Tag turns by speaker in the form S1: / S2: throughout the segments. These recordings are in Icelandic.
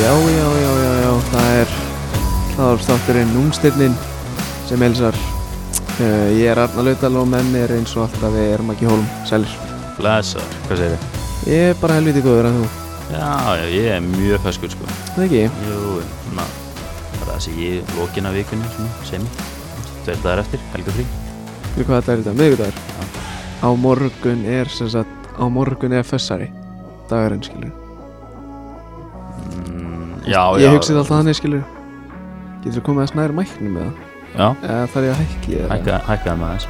S1: Já, já, já, já, já, það er hláðarstátturinn Ungstyrnin sem elsar. Uh, ég er Arnar Lautal og með mér eins og alltaf við erum ekki hólum, sælir.
S2: Blessa, hvað segir þið?
S1: Ég er bara helviti góður en þú,
S2: Já, já, ég er mjög feskur sko
S1: það ekki?
S2: Jú, en svona bara það sé ég lókin af vikunni svona, sem Tveir dagar eftir, helgur frí
S1: Fyrir hvað þetta er í dag, miðvikudagur? Á morgun er sem sagt, á morgun er fessari, dagurinn skilur.
S2: mm, Já, já
S1: Ég hugsið alltaf þannig skilur. Getur þú komið að snæra mæknum með það?
S2: Já,
S1: Eða þarf ég að hækki eða?
S2: hækka, hækkaði með þess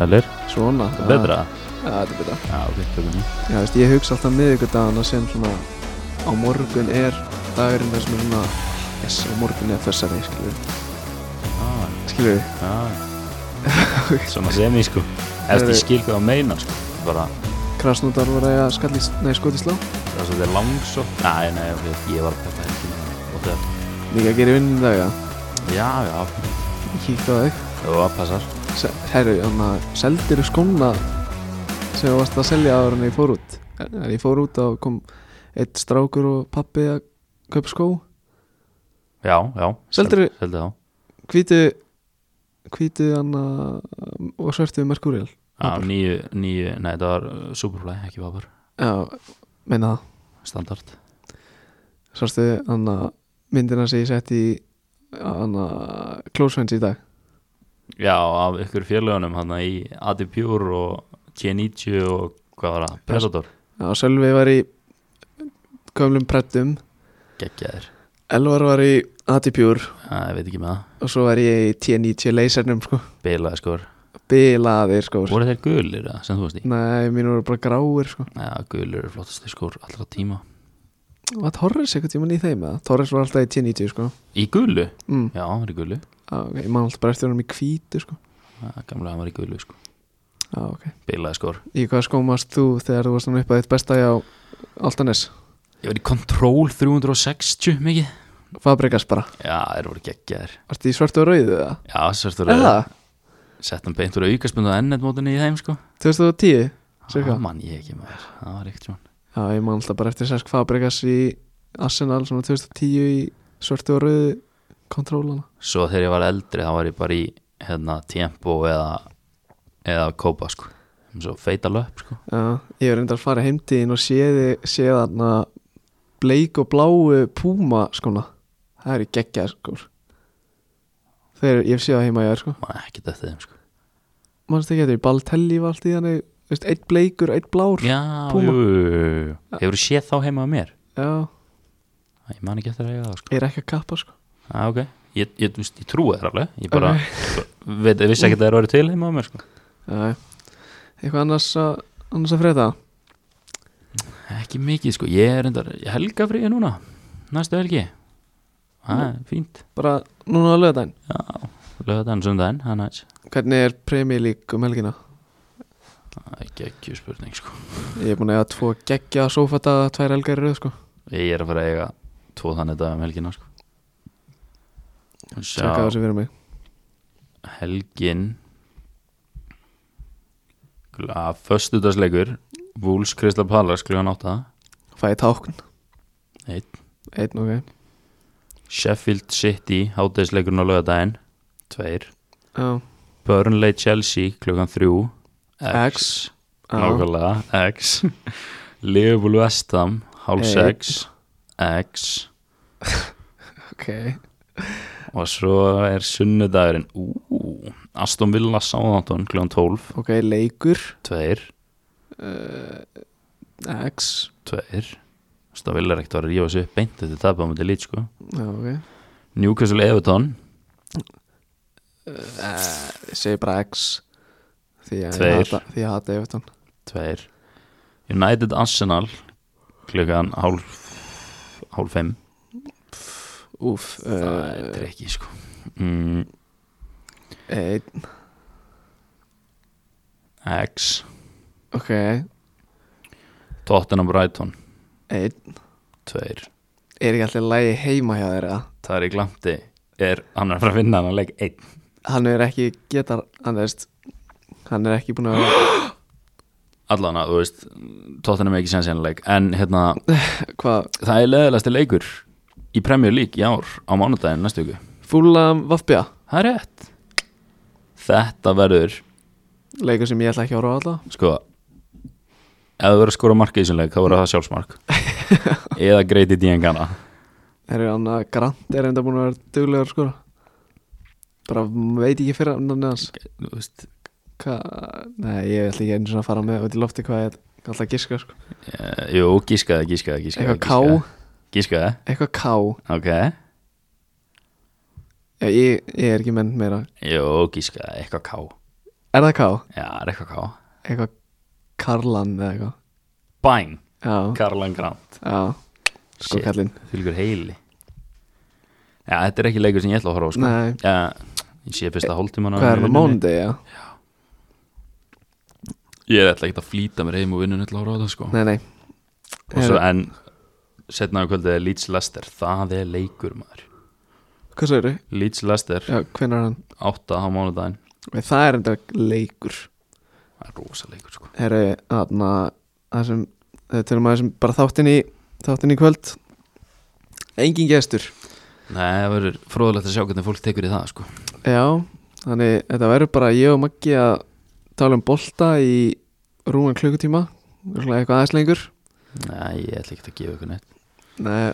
S2: Sælir,
S1: Svona.
S2: það er betra
S1: Já, þetta er betra.
S2: Já, ok, tökum við
S1: Já, veist, ég hugsa alltaf um miðvikudagana sem svona á morgun er dagurinn þar sem er svona yes, á morgun er þessari, skilur við
S2: Já,
S1: skilur við,
S2: já Svona sem ég sko Eftir ég skil hvað það meina sko Bara,
S1: krasnútar voru að skalli, nei, skoti slá
S2: það er sko. svo þetta langsótt Næ, nei, ok, ég var að peppa helginni og þetta
S1: líka að gera í vinnu í dag, já
S2: Já, já,
S1: ég kíkti á þig,
S2: það passar
S1: Se- herru, hann að seldir skóna sem þú varst að selja áður en ég fór út en ég fór út og kom eitt strákur og pappi að kaupa skó
S2: Já, já
S1: Seldirðu-
S2: Seldir þá
S1: hvítu hvítu hann að og svörtu merkúriðal
S2: Já, nýju, nýju, nei það var uh, Superfly, ekki Vapor,
S1: já, meina það
S2: standard
S1: Svarstu hann að myndina sem ég sett í hann að Close Friends í dag
S2: Já, af ykkur félögunum hann í Adi Pure og G90 og hvað var það, Predator
S1: Já, Sölvi var í gömlum prettum
S2: Geggjaðir,
S1: Elvar var í Atipjúr
S2: Já, ég veit ekki með það,
S1: og svo var ég í T90 leysernum sko
S2: bilaði skor
S1: Bilaðir sko
S2: Voru þeir gulir það sem þú veist í?
S1: Nei, mínu voru bara gráir sko
S2: Já, gulir er flottasti skor allra tíma
S1: Var Torres eitthvað tímann í þeim eða? Torres var alltaf í T90 sko
S2: Í gulu?
S1: mm.
S2: Já, hann var í gulu
S1: Já, ok, ég man alltaf bara eftir honum í hvítu sko
S2: Já, gamlega hann var í gulu sko,
S1: Já, ok
S2: bilaði sko. skor
S1: Í hvað skómast þú þegar þú varst hann upp að þitt besta á Altanes?
S2: Ég var í Control 360 mikið
S1: Fabrikas bara
S2: Já, þeir voru geggjaðir
S1: Varstu í svartu og rauðu eða?
S2: Já, sérstu
S1: Er það?
S2: Sett hann beint úr aukaspundu á ennett mótunni í þeim sko
S1: 2010? Cirka?
S2: Það mann Ah, ég ekki maður, það var eitt svona
S1: Já, ég man alltaf bara eftir Sesk Fabregas í Arsenal svona 2010 í svörtu og rauðu kontrólana.
S2: Svo þegar ég var eldri þá var ég bara í hérna tempo eða eða kópa sko Svo feita löp sko
S1: Já, ég er reyndar að fara heimtíðin og séði, séð þarna bleik og bláu púma skona. Það eru geggjað sko. Þegar ég hef séð það heima ég er sko.
S2: Man ekki þetta þeim sko
S1: Manstu ekki eftir, Baltelli var allt í þannig, veist, eitt bleikur, eitt blár.
S2: Já,
S1: Púma.
S2: jú, jú, jú. Hefur þú séð þá heima á mér?
S1: Já,
S2: Æ, Ég man ekki eftir að eiga það sko
S1: ég er ekki að kappa sko.
S2: Já, ok Ég, ég, þú veist, ég trúi þér alveg Ég bara, veit, vissi ekki að það eru til heima á mér sko
S1: Já, eitthvað annars að, annars að freda.
S2: Ekki mikið sko, ég er endar helgafríði núna Næstu helgi Það er fínt
S1: Bara núna á löðdæn.
S2: Lögðan, sundaginn, það er næs
S1: Hvernig er Premier League um helgina?
S2: Það er ekki spurning sko
S1: Ég er búin að eiga tvo geggja sófata tvær helgar í röð sko
S2: Ég er að fara að eiga tvo þannig dag um helgina sko.
S1: Tjekka
S2: Og Sjá,
S1: þessu fyrir mig
S2: helgin að föstudagsleikur Vúls Kristall Pallas klugan 8
S1: Fæði tákn
S2: Einn.
S1: Einn, ok
S2: Sheffield City hátæðisleikurinn á laugardaginn 2
S1: Já,
S2: Burnley Chelsea klugan 3 X
S1: X. já.
S2: Nákvæmlega X Liverpool West Ham hálf
S1: Einn.
S2: 6 X
S1: Ok
S2: og svo er sunnudagurinn Ú, Aston Villa Southampton klugan 12
S1: Ok, leikur
S2: Tveir,
S1: X
S2: tveir Það vil er ekkert að rífa sig upp beint Þetta er tapað á mútið lít sko
S1: Já, ok
S2: Newcastle Everton,
S1: Ég segi bara X Því að
S2: Tveir.
S1: ég hata, því að ég hata Evertón
S2: tveir United Arsenal Klukkan hálf Hálf fimm
S1: Úf
S2: Það
S1: uh,
S2: er ekki sko mm,
S1: Einn,
S2: X
S1: ok
S2: Tottenham Brighton,
S1: Einn
S2: tveir
S1: Er ekki allir lægi heima hjá þér eða?
S2: Tari Glamti er, hann er að fara að vinna hann að leik einn
S1: Hann er ekki getar, hann veist Hann er ekki búin að
S2: allana, þú veist tóttanum ekki sem sennileg en hérna,
S1: Hvað,
S2: það er leðilegasti leikur í Premier League í ár á mánudaginn næstu viku
S1: fúlam vaffbja
S2: það er rétt þetta verður,
S1: Leikur sem ég ætla ekki að horfa á alla
S2: sko ef það verður að skora mark í þessum leik þá verður það sjálfsmark eða greiti díengana
S1: Þeir eru annað Grant er enda búin að vera duglegur að skora Bara veit ekki fyrir annan hans
S2: þú veist,
S1: Hvað, nei ég ætla ekki einu svona að fara með út í lofti hvað ég ætla að giska sko
S2: eh, jú, gískaði, gískaði, gískaði
S1: Eitthvað ká,
S2: gískaði,
S1: eitthvað ká
S2: ok
S1: Já, ég, ég er ekki menn meira
S2: jú, gískaði, eitthvað ká
S1: Er það ká?
S2: já, það er eitthvað ká
S1: Eitthvað Karlan eða eitthvað
S2: bæn,
S1: Já,
S2: Karlan Grant
S1: já, sko
S2: Shit.
S1: kallinn
S2: fylgur heili já, þetta er ekki leikur sem ég ætla að horfa á sko.
S1: Nei,
S2: já, ég sé fyrst að hóltíma
S1: hvað er það mánuði, já?
S2: ég ætla ekki að flýta mér heim og vinnun ætla að horfa á það sko.
S1: Nei, nei
S2: og svo
S1: Heyrðu,
S2: en setna á kvöldið er Leeds Leicester það er leikur maður
S1: Hvað svo eru?
S2: Leeds Leicester
S1: Já, hvenær er hann?
S2: 8 á mánudaginn
S1: Nei, Það er enda leikur
S2: það er rosa leikur sko
S1: Herru, þarna það sem, þetta er maður sem um bara þáttin í þáttin í kvöld Engin gestur
S2: Nei, það verður fróðulegt að sjá hvernig fólk tekur í það sko
S1: Já, þannig þetta verður bara ég og Maggi að tala um bolta í rúman klukkutíma örugglega eitthvað aðeins lengur
S2: Nei, ég ætla ekki að gefa ykkur neitt
S1: Nei,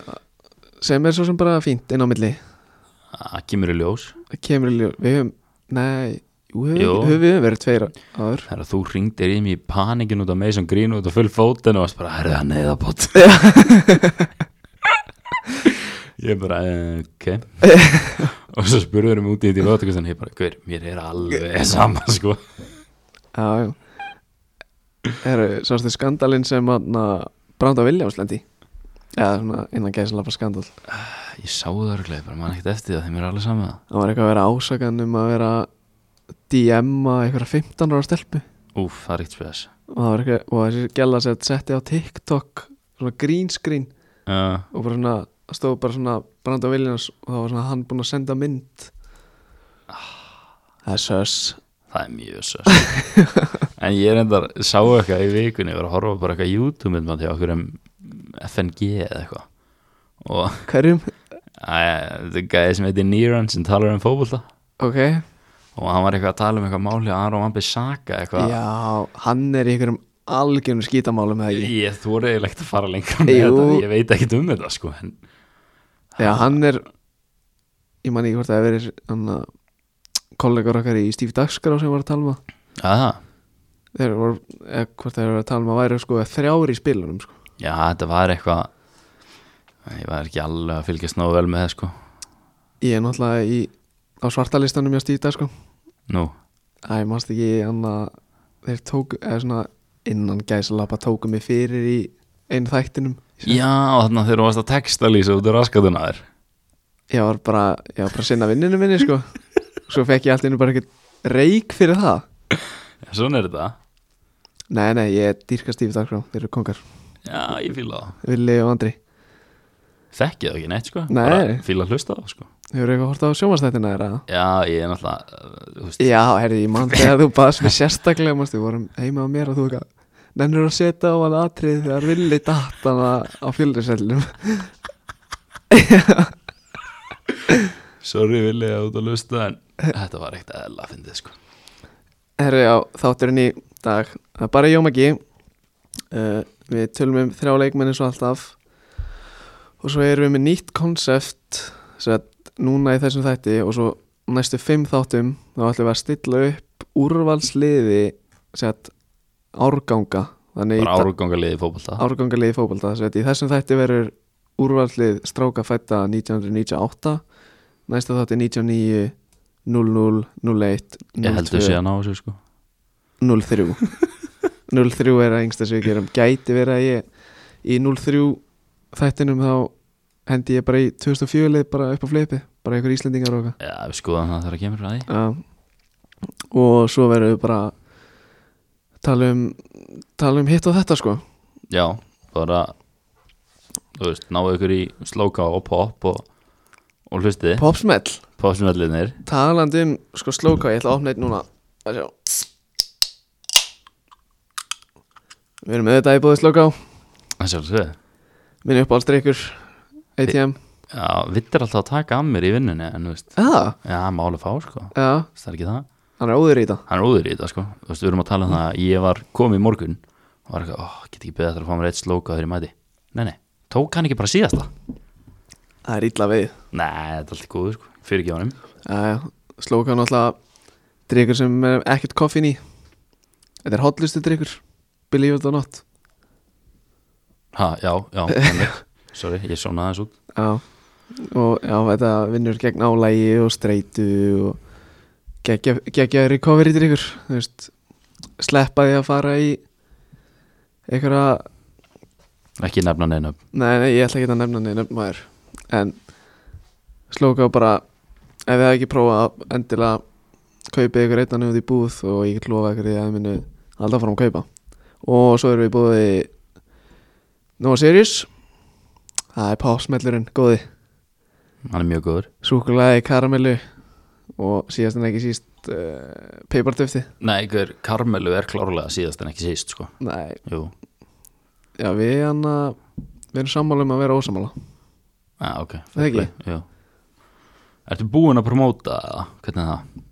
S1: sem er svo sem bara fínt inn á milli
S2: það kemur í ljós
S1: það kemur í ljó- við höfum, nei jú, höfum,
S2: Jú.
S1: höfum við höfum verið tveir áður
S2: Þegar þú ringdir í mig í panikin út af Mason Greenwood og full fótinn og varst bara, herðu það neyðabót Ég bara, eh, ok Og svo spurður um út í því vötu og ég bara, hver, mér er alveg sama sko
S1: Já, já Herru, sástu skandalinn sem að Branda Williams lendi í? Eða svona innan gæðislega skandal
S2: Ég sá það örglega, bara mann ekkert eftir það, þeim er alveg sama
S1: Það var eitthvað að vera ásakan um að vera DM-a einhverja 15 ára stelpu
S2: Úf, það er ekkert spes
S1: og það var eitthvað, og þessi gæla sett setti á TikTok svona green screen
S2: uh,
S1: og bara svona, það stóð bara svona Branda Williams og það var svona hann búinn að senda mynd Það er sös
S2: Það er mjög sös En ég er endar, sá eitthvað í vikunni Ég var að horfa bara eitthvað YouTube-mynd maður til okkur um FNG eða eitthvað Og
S1: Hverjum?
S2: æ, þetta er gæði sem heitir Nýran sem talar um fótbolta
S1: Ok
S2: Og hann var eitthvað að tala um eitthvað máli að Aron Vambi Saka eitthvað
S1: Já, hann er í einhverjum algjörnum skítamálum eða ekki
S2: Ég þóri eiginlega ekkert að fara lengra með
S1: Jú.
S2: þetta Ég veit ekkert um þetta sko en,
S1: Já, hann er Ég man ekki hvort það að verið hann að kollegar okkar í Stíf Dagskrá sem var að tala um það
S2: aða,
S1: Þeir voru, eða hvort þeir voru að tala um að væri sko þrjári í spilunum sko
S2: Já, þetta var eitthvað Ég var ekki alveg að fylgjast nógu vel með það sko
S1: Ég er náttúrulega í, á svartalistanum hjá Stíf Dagskrá
S2: Nú,
S1: Æ, mást ekki hann að þeir tóku, eða svona innan gæsalapa tóku mig fyrir í einu þættinum
S2: já, þannig að þeir varst að texta lýsa út af raskatuna þér
S1: Ég var bara, ég var bara að sinna vinninu minni sko Svo fekk ég allt innu bara ekkert reik fyrir það
S2: Svona er þetta
S1: Nei, nei, ég dýrka Stíf Dagskrá, sko. þeir eru kongar
S2: Já, ég fíla það
S1: Vili og Andri
S2: Þekki það ekki neitt sko
S1: Nei.
S2: Bara fíla að hlusta á það sko
S1: Hefur eitthvað hort á sjómanstættina þeirra?
S2: Já, ég er náttúrulega uh, þú veist,
S1: Já, herri, ég mann þegar þú baðst mér sérstaklega manstu, við vorum heima á mér og þú eitthvað Nennur að setja á hann atrið þegar villi datana á fjöldursellinum
S2: Sorry Vili að út að hlusta En þetta var eitt eðla að fyndið sko
S1: Herri, já, þátturinn í dag Það er bara Jómagi uh, Við tölum um þrjá leikmenni svo alltaf Og svo erum við með nýtt konsept Sett núna í þessum þætti Og svo næstu fimm þáttum Þá ætlum við að stilla upp úrvalsliði Sett árganga Þannig í
S2: Bara
S1: dag-
S2: áruganga liði fótbolta
S1: árgangalið í fótbolta þess að í þessum þætti verður úrvalslið stráka fætta 1998 næsta þátti 99 00, 01
S2: Ég heldur
S1: 02,
S2: síðan á þessu sko
S1: 03 03 er að yngsta sem við gerum gæti verið að ég í 03 þættinum þá hendi ég bara í 2004 leið bara upp á fleipi bara einhver Íslendingar og
S2: Já, við skoðum það þegar að kemur að því
S1: Já og svo verðum við bara tala um tala um hitt og þetta sko
S2: Já, bara Þú veist, náðu ykkur í slóka og pop og, og hlustið
S1: popsmell
S2: Popsmöllinir
S1: Talandi um sko slóka, ég ætla að opna eitt núna að sjá Við erum auðvitað í bóðið slokká
S2: Það sjálfsögðu
S1: Minn uppáhaldsdrykkur ATM
S2: Já, vitt er alltaf að taka að mér í vinnunni En þú veist,
S1: Já,
S2: já, máli fá sko Þú
S1: já,
S2: veist, Það er ekki það
S1: hann er óður í þetta
S2: hann er óður í þetta sko þú veist, við erum að tala um það að ég var komið í morgun og var eitthvað, oh, get ekki beðið eftir að fá mér eitt slóka þegar ég mæti, nei nei, tók hann ekki bara síðasta
S1: Það er illa við
S2: nei, þetta er allt í góðu sko, fyrir ekki honum
S1: Já, slokká er náttúrulega drykkur sem er ekkert koffin í Þetta er hotlustu drykkur Believe it or not
S2: ha, já, já, einmitt. sorry, ég svona aðeins út
S1: Já, og já, þetta vinnur gegn álægi og streitu og geggja, geggja recovery drykkur Þú veist, sleppa því að fara í einhverja
S2: ekki nefna neina,
S1: Nei, nei, ég ætla ekki að nefna neina maður En slóka bara Ef þið hafa ekki prófað að endilega Kaupið ykkur einna nefnir út í búð Og ég get lofa ykkur því að þið minu Alltaf fara að kaupa Og svo erum við búið í Nova Series Það er pásmellurinn, góði
S2: hann er mjög góður
S1: Súkulaði, karamellu Og síðast en ekki síst uh, Peipartöfti
S2: nei, ykkur, Karmelu er klárlega síðast en ekki síst sko,
S1: Nei,
S2: jú,
S1: já við hann Við erum sammála um að vera ósammála
S2: já, ah, ok
S1: Það ekki?
S2: jú Ertu búin að promóta það? Hvernig er það?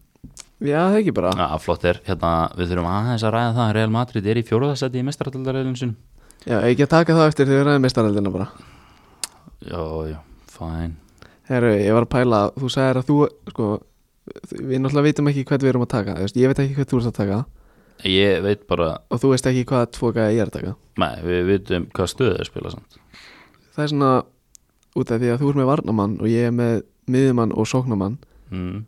S1: Já, það ekki bara
S2: Já, flott er. Hérna, við þurfum aðeins að ræða það. Real Madrid er í fjóruðasæti í mestraraldarreilunsin.
S1: Já, ég get taka það eftir því við ræðum meistaraldina bara
S2: Jó, jó, fæn
S1: Herru, ég var að pæla, þú sagðir að þú, sko, við náttúrulega veitum ekki hvað við erum að taka, þú veist, ég veit ekki hvað þú ert að taka
S2: Ég veit bara,
S1: og þú veist ekki hvað tvo gæði ég er að taka.
S2: nei, við vitum hvað stöðu er spila samt
S1: Það er svona út af því að þú ert með varnamann og ég er með miðumann og sóknamann,
S2: mm,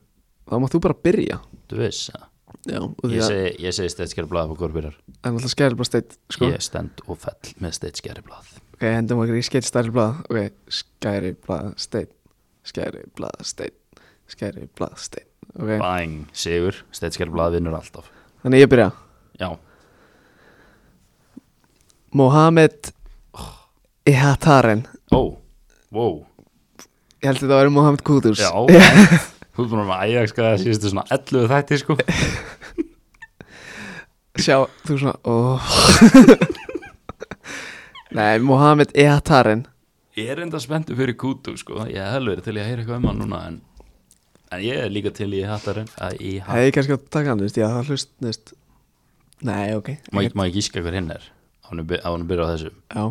S1: þá mátt þú bara byrja.
S2: Þú veist það
S1: Já, og því
S2: Ég
S1: að,
S2: segi, ég segi steitskjæri blað hvað byrjar
S1: en alltaf skæri bara steitt, sko,
S2: Ég stend og fell með steitskjæri blað
S1: ok, hendum okkur í skeitt stærri blað, ok, skæri blað steitt, skæri blað steitt, skæri blað steitt, ok,
S2: Bang, sigur, steitskjæri blað vinnur alltaf
S1: þannig ég byrja.
S2: Já,
S1: Mohamed Ihataren,
S2: ó, wow
S1: ég held að þetta var Mohamed Kudus.
S2: Já, en- þú ert búin að maður ægja Það síðustu svona 11 þætti sko
S1: sjá, þú svona oh. Nei, Mohamed Ehatarinn
S2: Ég er enda spenntu fyrir kútu sko Ég er helveri til ég að heyra eitthvað um hann núna En, en ég er líka til í hattarinn að í hatt-
S1: Hefði ég kannski átt að taka hann, þú veist, ég það hlust, þú veist Nei, ok
S2: Má ég- má ég gíska hver hinn er Á hann að byrja á þessu
S1: Já,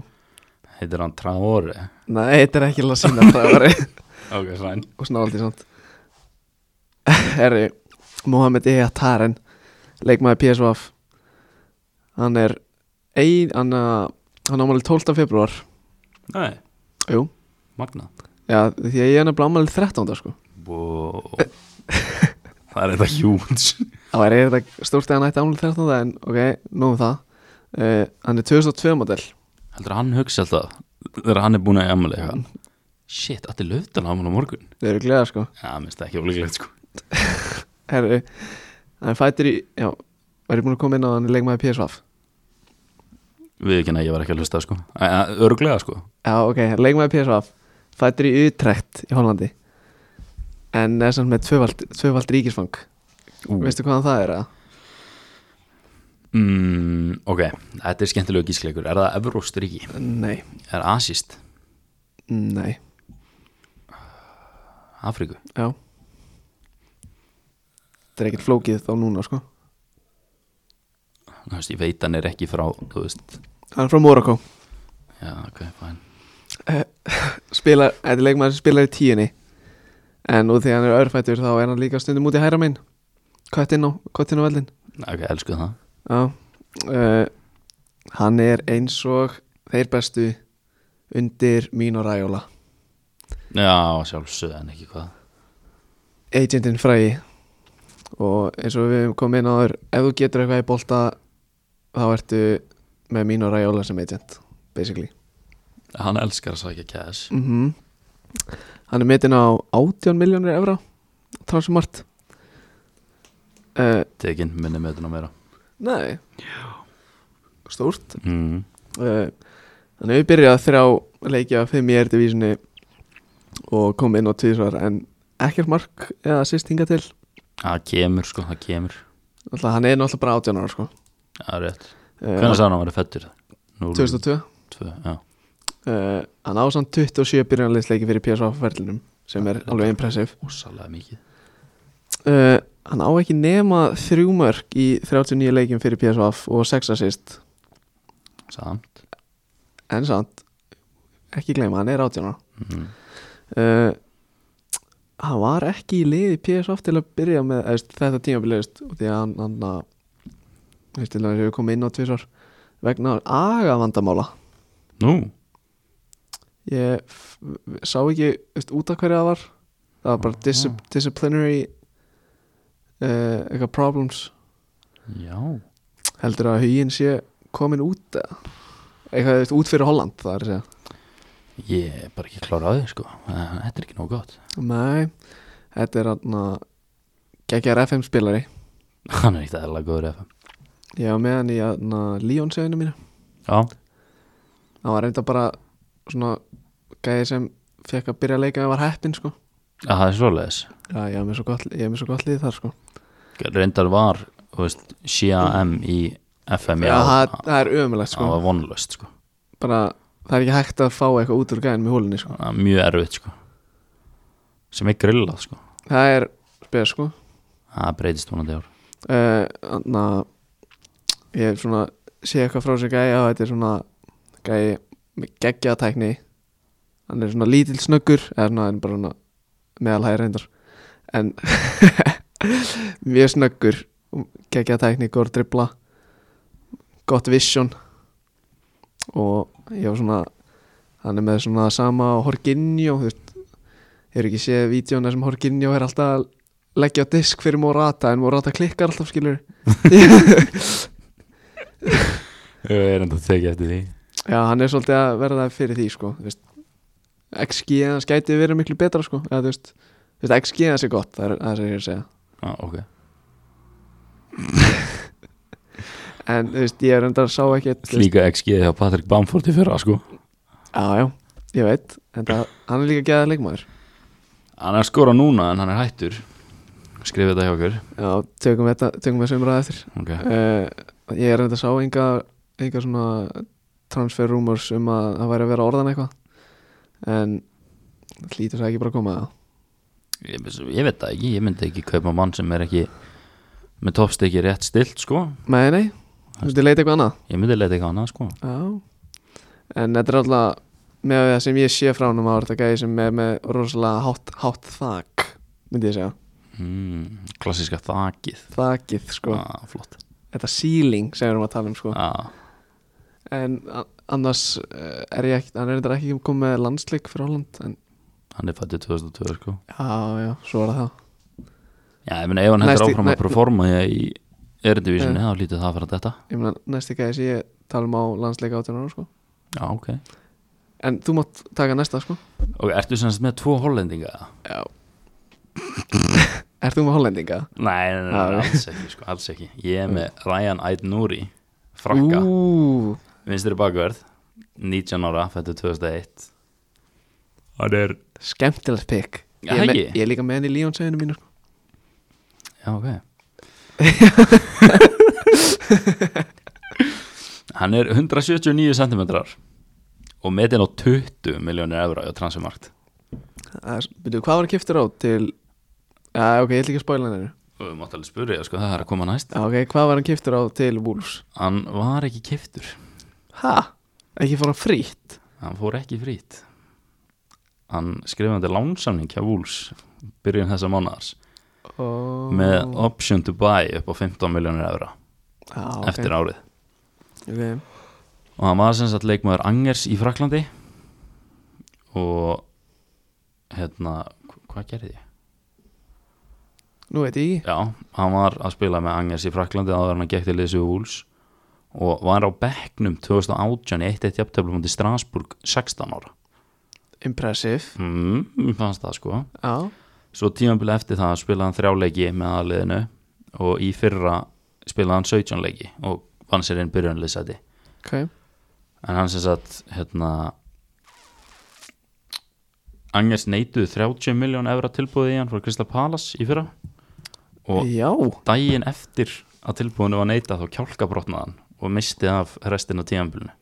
S2: Heitir hann Traore
S1: nei, þetta er ekki lasina Það var og
S2: Ok, slæn
S1: snáldið samt Herri, Mohamed Ehatarinn Leikmaði PSVF Hann er ein, hann, uh, hann ámælið 12. februar
S2: Nei,
S1: Jú,
S2: magna
S1: já, því að ég er nefnilega ámælið 13. sko
S2: wow. Það er þetta hjúns
S1: Það væri þetta stórt eða nætti ámlega 13 en ok, nú um það uh, Hann er 2002 model
S2: Heldur að hann hugsa alltaf Þegar hann er búin að jamla eitthvað Shit, allir löftan á hann á morgun
S1: Þau eru gleða sko
S2: Já, minnst það ekki ólíklegt sko
S1: Herru, hann fættir í, já, var ég búin að koma inn á að hann er leikmaði PSVaf
S2: Við ekki að ég var ekki að hlusta sko Æ, æ, Öruglega sko
S1: Já, ok, leikmaði PSVaf Fættir í Utrecht í Hollandi En er samt með tvöfald, tvöfald ríkisfang
S2: Ú.
S1: Veistu hvaðan það er að?
S2: mm, Ok, þetta er skemmtilegu gískleikur Er það Evróst ríki?
S1: Nei,
S2: Er Asist?
S1: nei,
S2: Afríku?
S1: já Þetta er ekkert flókið þá núna sko
S2: Þú veist, ég veit hann er ekki frá Þú veist
S1: Hann er frá Morocco
S2: Já, ok, fæn
S1: spila, eh, þetta er leikmaður sem spilar í tíunni en út því að hann er örfættur þá er hann líka stundum út í hæra minn köttinn á, köttinn á vellin
S2: Ok, elsku það
S1: já uh, hann er eins og þeir bestu undir mín og ræjóla
S2: Já, sjálfsög en ekki hvað
S1: agentinn fræði og eins og við höfum komið inn á þér ef þú getur eitthvað í bolta þá ertu með mín og ræjóla sem agent basically
S2: Hann elskar að sækja cash
S1: mm Hann er metin á 18 miljónir evra transumart uh,
S2: Tekin minni með þetta meira
S1: Nei Stórt
S2: mm.
S1: uh, Þannig að við byrjaði að þrjá leikja fimm í erdivísinni og kom inn á tvísvar en ekkert mark eða sýst hinga til
S2: Það kemur sko, það kemur
S1: Alltaf, hann er náttúrulega bara 18 ára sko.
S2: Það er rétt
S1: uh,
S2: Hvernig sá hann að vera fættur? 0-2
S1: 2002
S2: já.
S1: uh, Hann á samt 27 byrjanleisleiki fyrir PSV-ferlinum sem er alveg impressiv
S2: ósalega mikið
S1: uh, Hann á ekki nema þrjú mörg í 39 leikjum fyrir PSV og 6 assist
S2: samt
S1: en samt ekki gleyma, hann er 18 ára
S2: mm.
S1: uh, hann var ekki í liði PSV til að byrja með eða, veist, þetta tímabili veist, og því að hann, hann að, veist, til að hefur komið inn á tvisar vegna aga vandamála
S2: nú,
S1: ég f- sá ekki veist, út af hverju það var það var bara dis
S2: Aha.
S1: disciplinary uh, eitthvað problems
S2: já
S1: heldur að huginn sé komin út eða? eitthvað veist, út fyrir Holland það er að segja
S2: ég er bara ekki klára á því sko Eh, þetta er ekki nóg gott
S1: Nei, þetta er hann að geggjara FM spilari
S2: hann er ekkert eðla góður FM
S1: Ég var með hann í hann að Líón seginu mínu
S2: já,
S1: Það var reynda bara svona gæði sem fekk að byrja að leika ef var heppin sko
S2: Já, það er svoleiðis
S1: Já, ég hef með svo gott, ég hef með svo gott lið þar sko
S2: reyndar var, þú veist, CAM í FM
S1: Já,
S2: já,
S1: það, það er ömulegt sko
S2: það var vonlust sko
S1: Bara, það er ekki hægt að fá eitthvað út úr gæðinum í hólunni sko
S2: Það er mjög erfitt sko sem er grillað sko
S1: Það er spes sko
S2: það breytist vonandi í ár
S1: Þannig að Eh, ég hef svona sé eitthvað frá sér gæði og þetta er svona gæði með geggjaða tækni hann er svona lítill snöggur eða svona hann er bara svona meðalhæði reyndar en mjög snöggur geggjaða tækni, góður dribla gott vision og ég var svona hann er með svona sama og Horginjó þú veist, ég er ekki séð vídjóna sem Horginjó er alltaf að leggja á disk fyrir Morata en Morata klikkar alltaf skilur
S2: ég er enda að tekja eftir því
S1: Já, hann er svolítið að verða fyrir því sko þú veist. XG hans gæti verið miklu betra sko eða, þú veist, þú veist, XG hans er gott það er það sem ég er að segja
S2: ah, ok,
S1: en þú veist, ég er enda að sá ekkert þú veist-
S2: líka XG hjá Patrick Bamford í fyrra sko
S1: Já, já, ég veit en það, hann er líka gæða leikmaður
S2: hann er að skora núna en hann er hættur skrifa þetta hjá okkur
S1: Já, tökum þetta, tökum þessu umræða eftir
S2: okay.
S1: uh, Ég er enda að sá enga, enga svona transfer rumors um að það væri að vera orðan eitthvað en hlýtur það ekki bara að koma að
S2: ég, ég veit það ekki, ég myndi ekki kaupa mann sem er ekki með toppstykki rétt stilt sko
S1: Nei, nei, þú veist, ég leita eitthvað annað
S2: ég myndi leita eitthvað annað sko
S1: Já En þetta er alltaf með það sem ég sé frá hann á þetta gæði sem er með rosalega hátt, hátt þak myndi ég segja,
S2: mm, klassiska þakið
S1: þakið sko
S2: ah, flott
S1: þetta ceiling sem við erum að tala um sko
S2: ah,
S1: en a- annars eh, er ég ekki, hann er þetta ekki komið með landsleik fyrir Holland en
S2: hann er fættið 2002 sko
S1: já, já, svo er það þá.
S2: já, ég meina ef hann heldur
S1: Næsti-
S2: áfram
S1: næ-
S2: að performa því í erindivísinni þá lítið það að fara þetta
S1: ég meina næsti gæði sem ég tala um á landsleik átján ára sko
S2: já, ok
S1: en þú mátt taka næsta sko
S2: Ok, ertu semst með tvo hollendinga? eða?
S1: já Er þú með hollendinga?
S2: Nei, nei, nei, nei
S1: Já.
S2: alls ekki, sko, alls ekki Ég er með Ryan Aydnuri Frakka, uh.
S1: Ú,
S2: vinstri bakverð 19 ára, fættu 2001 Það er
S1: skemmtilegt pick
S2: Já,
S1: ég, er með-
S2: ekki?
S1: ég er líka með henni í Líonseginu mínu
S2: Já, ok Hann er 179 cm og metin á 20 miljónir evra á transfermarkt
S1: Veitu, hvað var hann kiptur á til Já, ok, ég ætla ekki að spoila henni
S2: og við mátt alveg spurja, sko, það er að koma næst
S1: Já, ok, hvað var hann kiptur á til Wolves?
S2: Hann var ekki kiftur
S1: Ha? Ekki fór hann frítt?
S2: Hann fór ekki frýtt Hann skrifandi lánsamning hjá Wolves byrjun þessa mánadars
S1: Oh.
S2: með option to buy upp á 15 miljónir evra
S1: Já, Ah, ok,
S2: eftir árið
S1: okay.
S2: og hann var sem sagt leikmaður Angers í Fraklandi og hérna, hva- hvað gerði ég?
S1: Nú veit ég ekki
S2: Já, hann var að spila með Angers í Fraklandi áður en hann gekk til þessu Wolves og var á bekknum 2018 í 1-1 jafntöflum til Strasbourg 16 ára
S1: Impressive
S2: mm, mér fannst það sko
S1: Já,
S2: Svo tímabilið eftir það spilaði hann þrjáleiki með aðliðinu og í fyrra spilaði hann 17 leiki og vann sér inn byrjunliðsæti
S1: ok
S2: en hann sem sagt hérna Angers neituð 30 miljón evra tilbúið í hann frá Kristla Palas í fyrra og
S1: Já,
S2: daginn eftir að tilbúinu var neitað þá kjálkabrotnaði hann og misti af restin af tímabilinu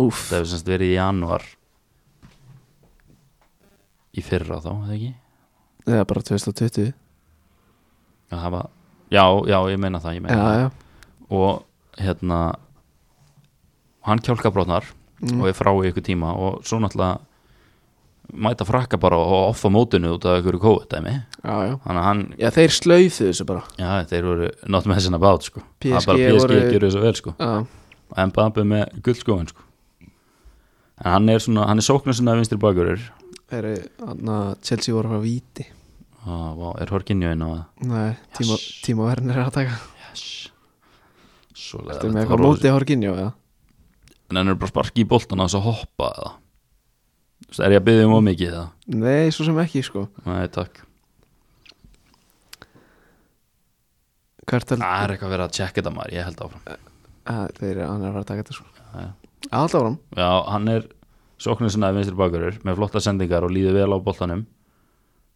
S1: Úf,
S2: það hefur semst verið í januar í fyrra þá, eða ekki?
S1: eða bara 2020
S2: Já, það var, já, já, ég meina það,
S1: Já,
S2: ég meina það.
S1: já,
S2: og hérna hann kjálkabrotnar
S1: Mm.
S2: og er frá í ykkur tíma og svo náttúrulega mæta frakka bara og offa mótinu út af ykkur kóið dæmi
S1: já, já
S2: þannig að hann,
S1: Já, þeir slauðu þessu bara
S2: já þeir voru not með sinna bát sko, það
S1: PSG
S2: er bara PSG
S1: voru-
S2: voru... gerur þessu vel sko
S1: Já,
S2: og Mbappe með guldskóin sko en hann er svona, hann er sóknar sinna vinstri bakurur
S1: þeir eru, hann að Chelsea voru að fara víti
S2: og Ah, er Horkinjó inn á það
S1: Nei, tíma,
S2: Yes.
S1: tíma verðin er að taka
S2: yes svo
S1: Þetta er með eitthvað mótið horkinjó, já
S2: en hann er bara sparki í boltan á þess að hoppa eða Þú veist, er ég að byggja um ómikið það
S1: Nei, svo sem ekki, sko
S2: Nei, takk
S1: Hvert held
S2: Það er eitthvað verið að tjekka þetta maður, ég held áfram
S1: að þeir eru, hann er að fara að taka þetta, sko
S2: Já, já.
S1: Alltaf áram,
S2: Já, hann er sóknir sinna vinstri bakurur með flotta sendingar og líður vel á boltanum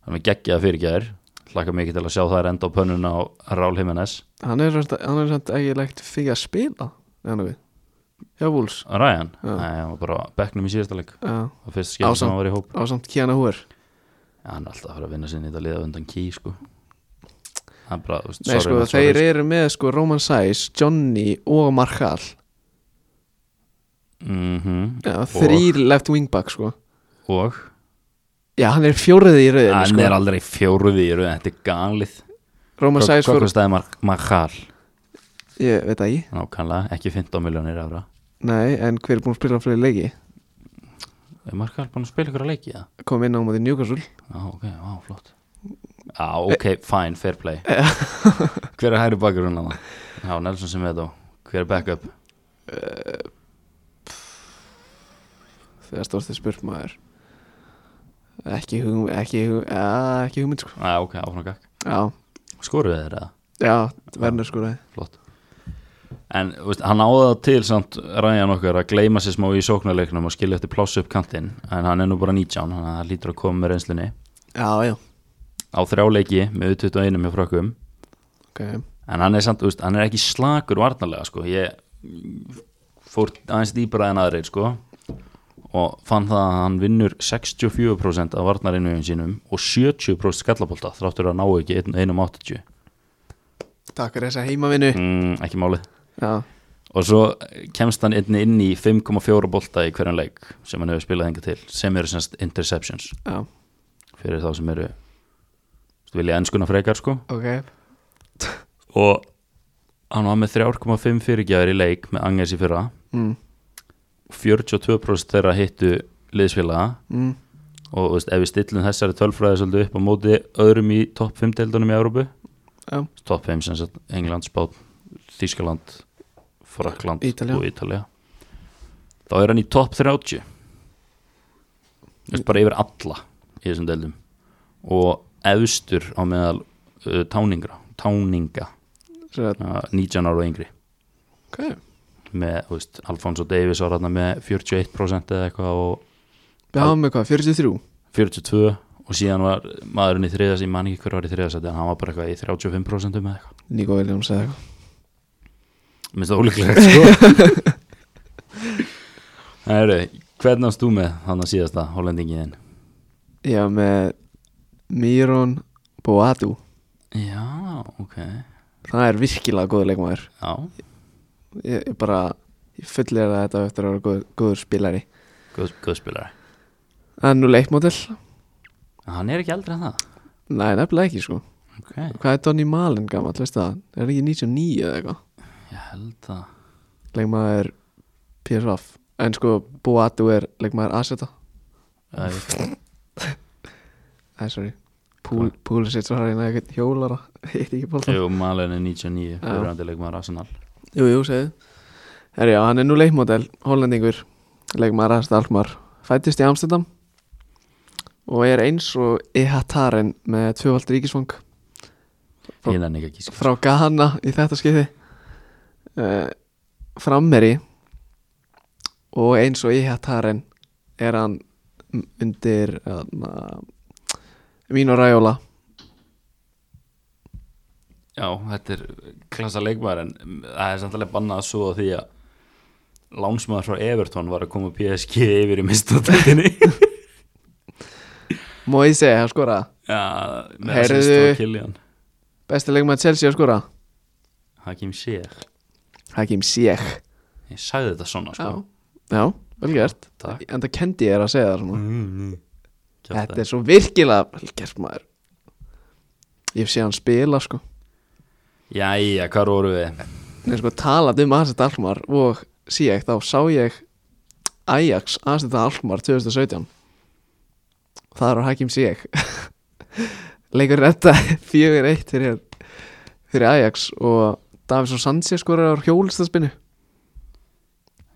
S2: Hann er geggjaða fyrirgæður Hlakka mikið til að sjá það er enda á pönnuna á Rál Jimenez
S1: hann er, samt- hann er samt ekki legt fyrir að spila Þannig við, hjá Wolves
S2: Ryan,
S1: Já.
S2: nei, hann var bara á bekknum í síðasta leik
S1: Já,
S2: og fyrst skil sem
S1: Ásamt.
S2: hann var í hóp
S1: á samt Kiana Húer
S2: Já, hann er alltaf að fara að vinna sinni í þetta liða undan ký, sko Hann er bara, þú veist,
S1: Nei, sko,
S2: sorry,
S1: þeir
S2: sorry,
S1: eru með, sko, Roman Sais, Johnny og Markal
S2: Mhm,
S1: Já, þrýr left wingback, sko
S2: Og
S1: Já, hann er fjórið í rauðinu,
S2: hann
S1: sko
S2: er aldrei fjóruð í röð, þetta er galið
S1: Roman
S2: Hvað
S1: Sais fór,
S2: hvað staði Mahal?
S1: ég veit það ekki
S2: Nákvæmlega, ekki 15 miljónir ára
S1: Nei, en hver er búin að spila fleiri leiki
S2: Er Markal búin að spila ykkur að leiki það?
S1: kom inn á móti Newcastle
S2: Já, ok, já, flott Eh, Já, ok, fine, fair play Hver er hægri bakur hún hana? Já, Nelson sem við þá Hver er backup?
S1: þegar stórst þið spurt maður ekki hugum ekki, hugum, ja, ekki hugmynd sko
S2: Já, ok, áfram gakk
S1: já,
S2: Skoruðu þeir eða?
S1: já, verður sko það
S2: Flott En, þú veist, hann áða til samt ræjan okkar að gleyma sér smá í sóknarleiknum og skilja eftir pláss upp kantinn en hann er nú bara 19, þannig að hann lítur að koma með reynslunni
S1: já, já,
S2: á þrjáleiki með 21 með frökkum
S1: ok
S2: en hann er samt, þú veist, hann er ekki slakur varnarlega sko, ég fór aðeins dýbra en aðrir sko og fann það að hann vinnur 64% af varnarinnvíðum sínum og 70% skallabólta þráttur að ná ekki 1.80
S1: takk fyrir þessa heimavinu
S2: mm, ekki málið
S1: já,
S2: og svo kemst hann einnig inn í 5.4 bolta í hverjan leik sem hann hefur spilað enga til sem eru semst interceptions
S1: já,
S2: fyrir þá sem eru þú veist, vilja enskuna frekar sko
S1: ok
S2: og hann var með 3.5 fyrirgjæður í leik með Angers í fyrra
S1: mm,
S2: 42% þeirra hittu liðsfélaga
S1: mm,
S2: og þú veist, ef við stillum þessari tölfræði svolítið upp á móti öðrum í topp 5 deildunum í Európu
S1: já,
S2: topp 5 sem sagt England, Spán, Þískaland Frakland
S1: Ítalía.
S2: og Ítalja þá er hann í topp 30 Þú veist, bara yfir alla í þessum deildum og efstur á meðal uh, táningra, táninga
S1: sér að,
S2: uh, 19 ára og yngri
S1: ok
S2: með, þú veist, Alfonso Davies var hann með 41% eða eitthvað og
S1: við hafum með hvað, 43
S2: 42 og síðan var maðurinn í þriðas, ég man ekki hver var í þriðasæti en hann var bara eitthvað í 35% með eitthvað
S1: Nico Williams eða eitthvað
S2: minnst það ólíklegt sko Heru, hvernig ást þú með hann að síðasta hollendingiðin?
S1: já, með Miron Boadu
S2: Já, ok Já,
S1: það er virkilega góð leikmaður ég, ég bara, ég fullir að þetta á eftir að vera góð, góður spilari
S2: góð, góðspilari
S1: það er nú leikmodell
S2: En hann er ekki eldri en það
S1: Nei, nefnilega ekki sko
S2: Ok,
S1: Hvað er Donny Malen gammal, veistu það? Er hann ekki 99 eða eitthvað?
S2: ég held að
S1: Leikmaður PSV En sko, Boatu er leikmaður Aseta
S2: Já, ég veit það.
S1: Nei, sorry Púl, Púlisits var hérna eitthvað hjólara Eitt ekki bólta Jú,
S2: Jú, Malen er 99
S1: Já.
S2: fyrirandi leikmaður Arsenal
S1: jú, jú segðu Herri, já, hann er nú leikmodell, hollendingur Leikmaður Aseta Alkmaar Fættist í Amstendam Og er eins og Ehataren með tvövald ríkisfang Frá-
S2: Ég nenni ekki að gíska
S1: frá Ghana í þetta skipti uh, frammeri og eins og ég hætt haren er hann m- undir uh, Vino Raiola
S2: Já, þetta er klassa leikmaður en það er samtalið bannað að svo því að lánsmaður frá Everton var að koma PSG yfir í mistatættinni
S1: Moise að skora
S2: Já, með
S1: Heyrðu.
S2: assist frá Killian
S1: Besti leikmaður Chelsea að skora
S2: Hakim Sér
S1: Hakim Ziyech
S2: Ég sagði þetta svona
S1: Já,
S2: sko
S1: já vel gert
S2: Takk.
S1: En það kendi ég er að segja það
S2: Mm,
S1: svona
S2: Þetta
S1: Þetta er svo virkilega vel gert maður Ég hef séð hann spila sko
S2: Jæja, hvað voru við?
S1: Nei sko talað um Asit Almar og Ziyech þá sá ég Ajax Asit Almar 2017 Það er á Hakim Ziyech Leikur retta 4-1 fyrir, fyrir Ajax og Davison Sanchez skorar á hjólistaspinu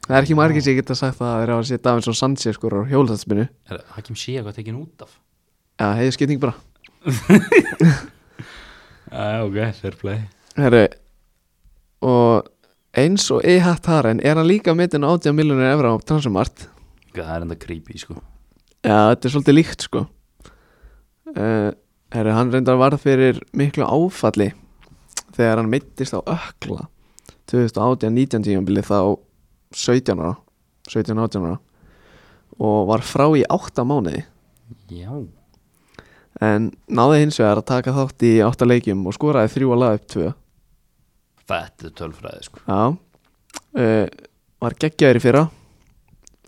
S1: Það er ekki margir sem ég geta sagt það að það er á að sé Davison Sanchez skorar á hjólistaspinu
S2: Er Hakim Sér hvað tekin út af?
S1: Já, heiði skipting bara
S2: Já, ok, fair play
S1: Herru og eins og E.H. Taren er hann líka metin á 80 miljonir evra á transumart
S2: Það er enda creepy sko
S1: Já, þetta er svolítið líkt sko uh, Herru, hann reyndar varð fyrir miklu áfalli þegar hann meittist á ökla 2018-19 tímabilið þá 17 ára 17-18 ára og var frá í 8 mánuði
S2: Já,
S1: en náði hins vegar að taka þátt í 8 leikjum og skoraði 3 að laga upp 2
S2: þetta er tölfræði sko
S1: Já uh, Var geggjaður í fyrra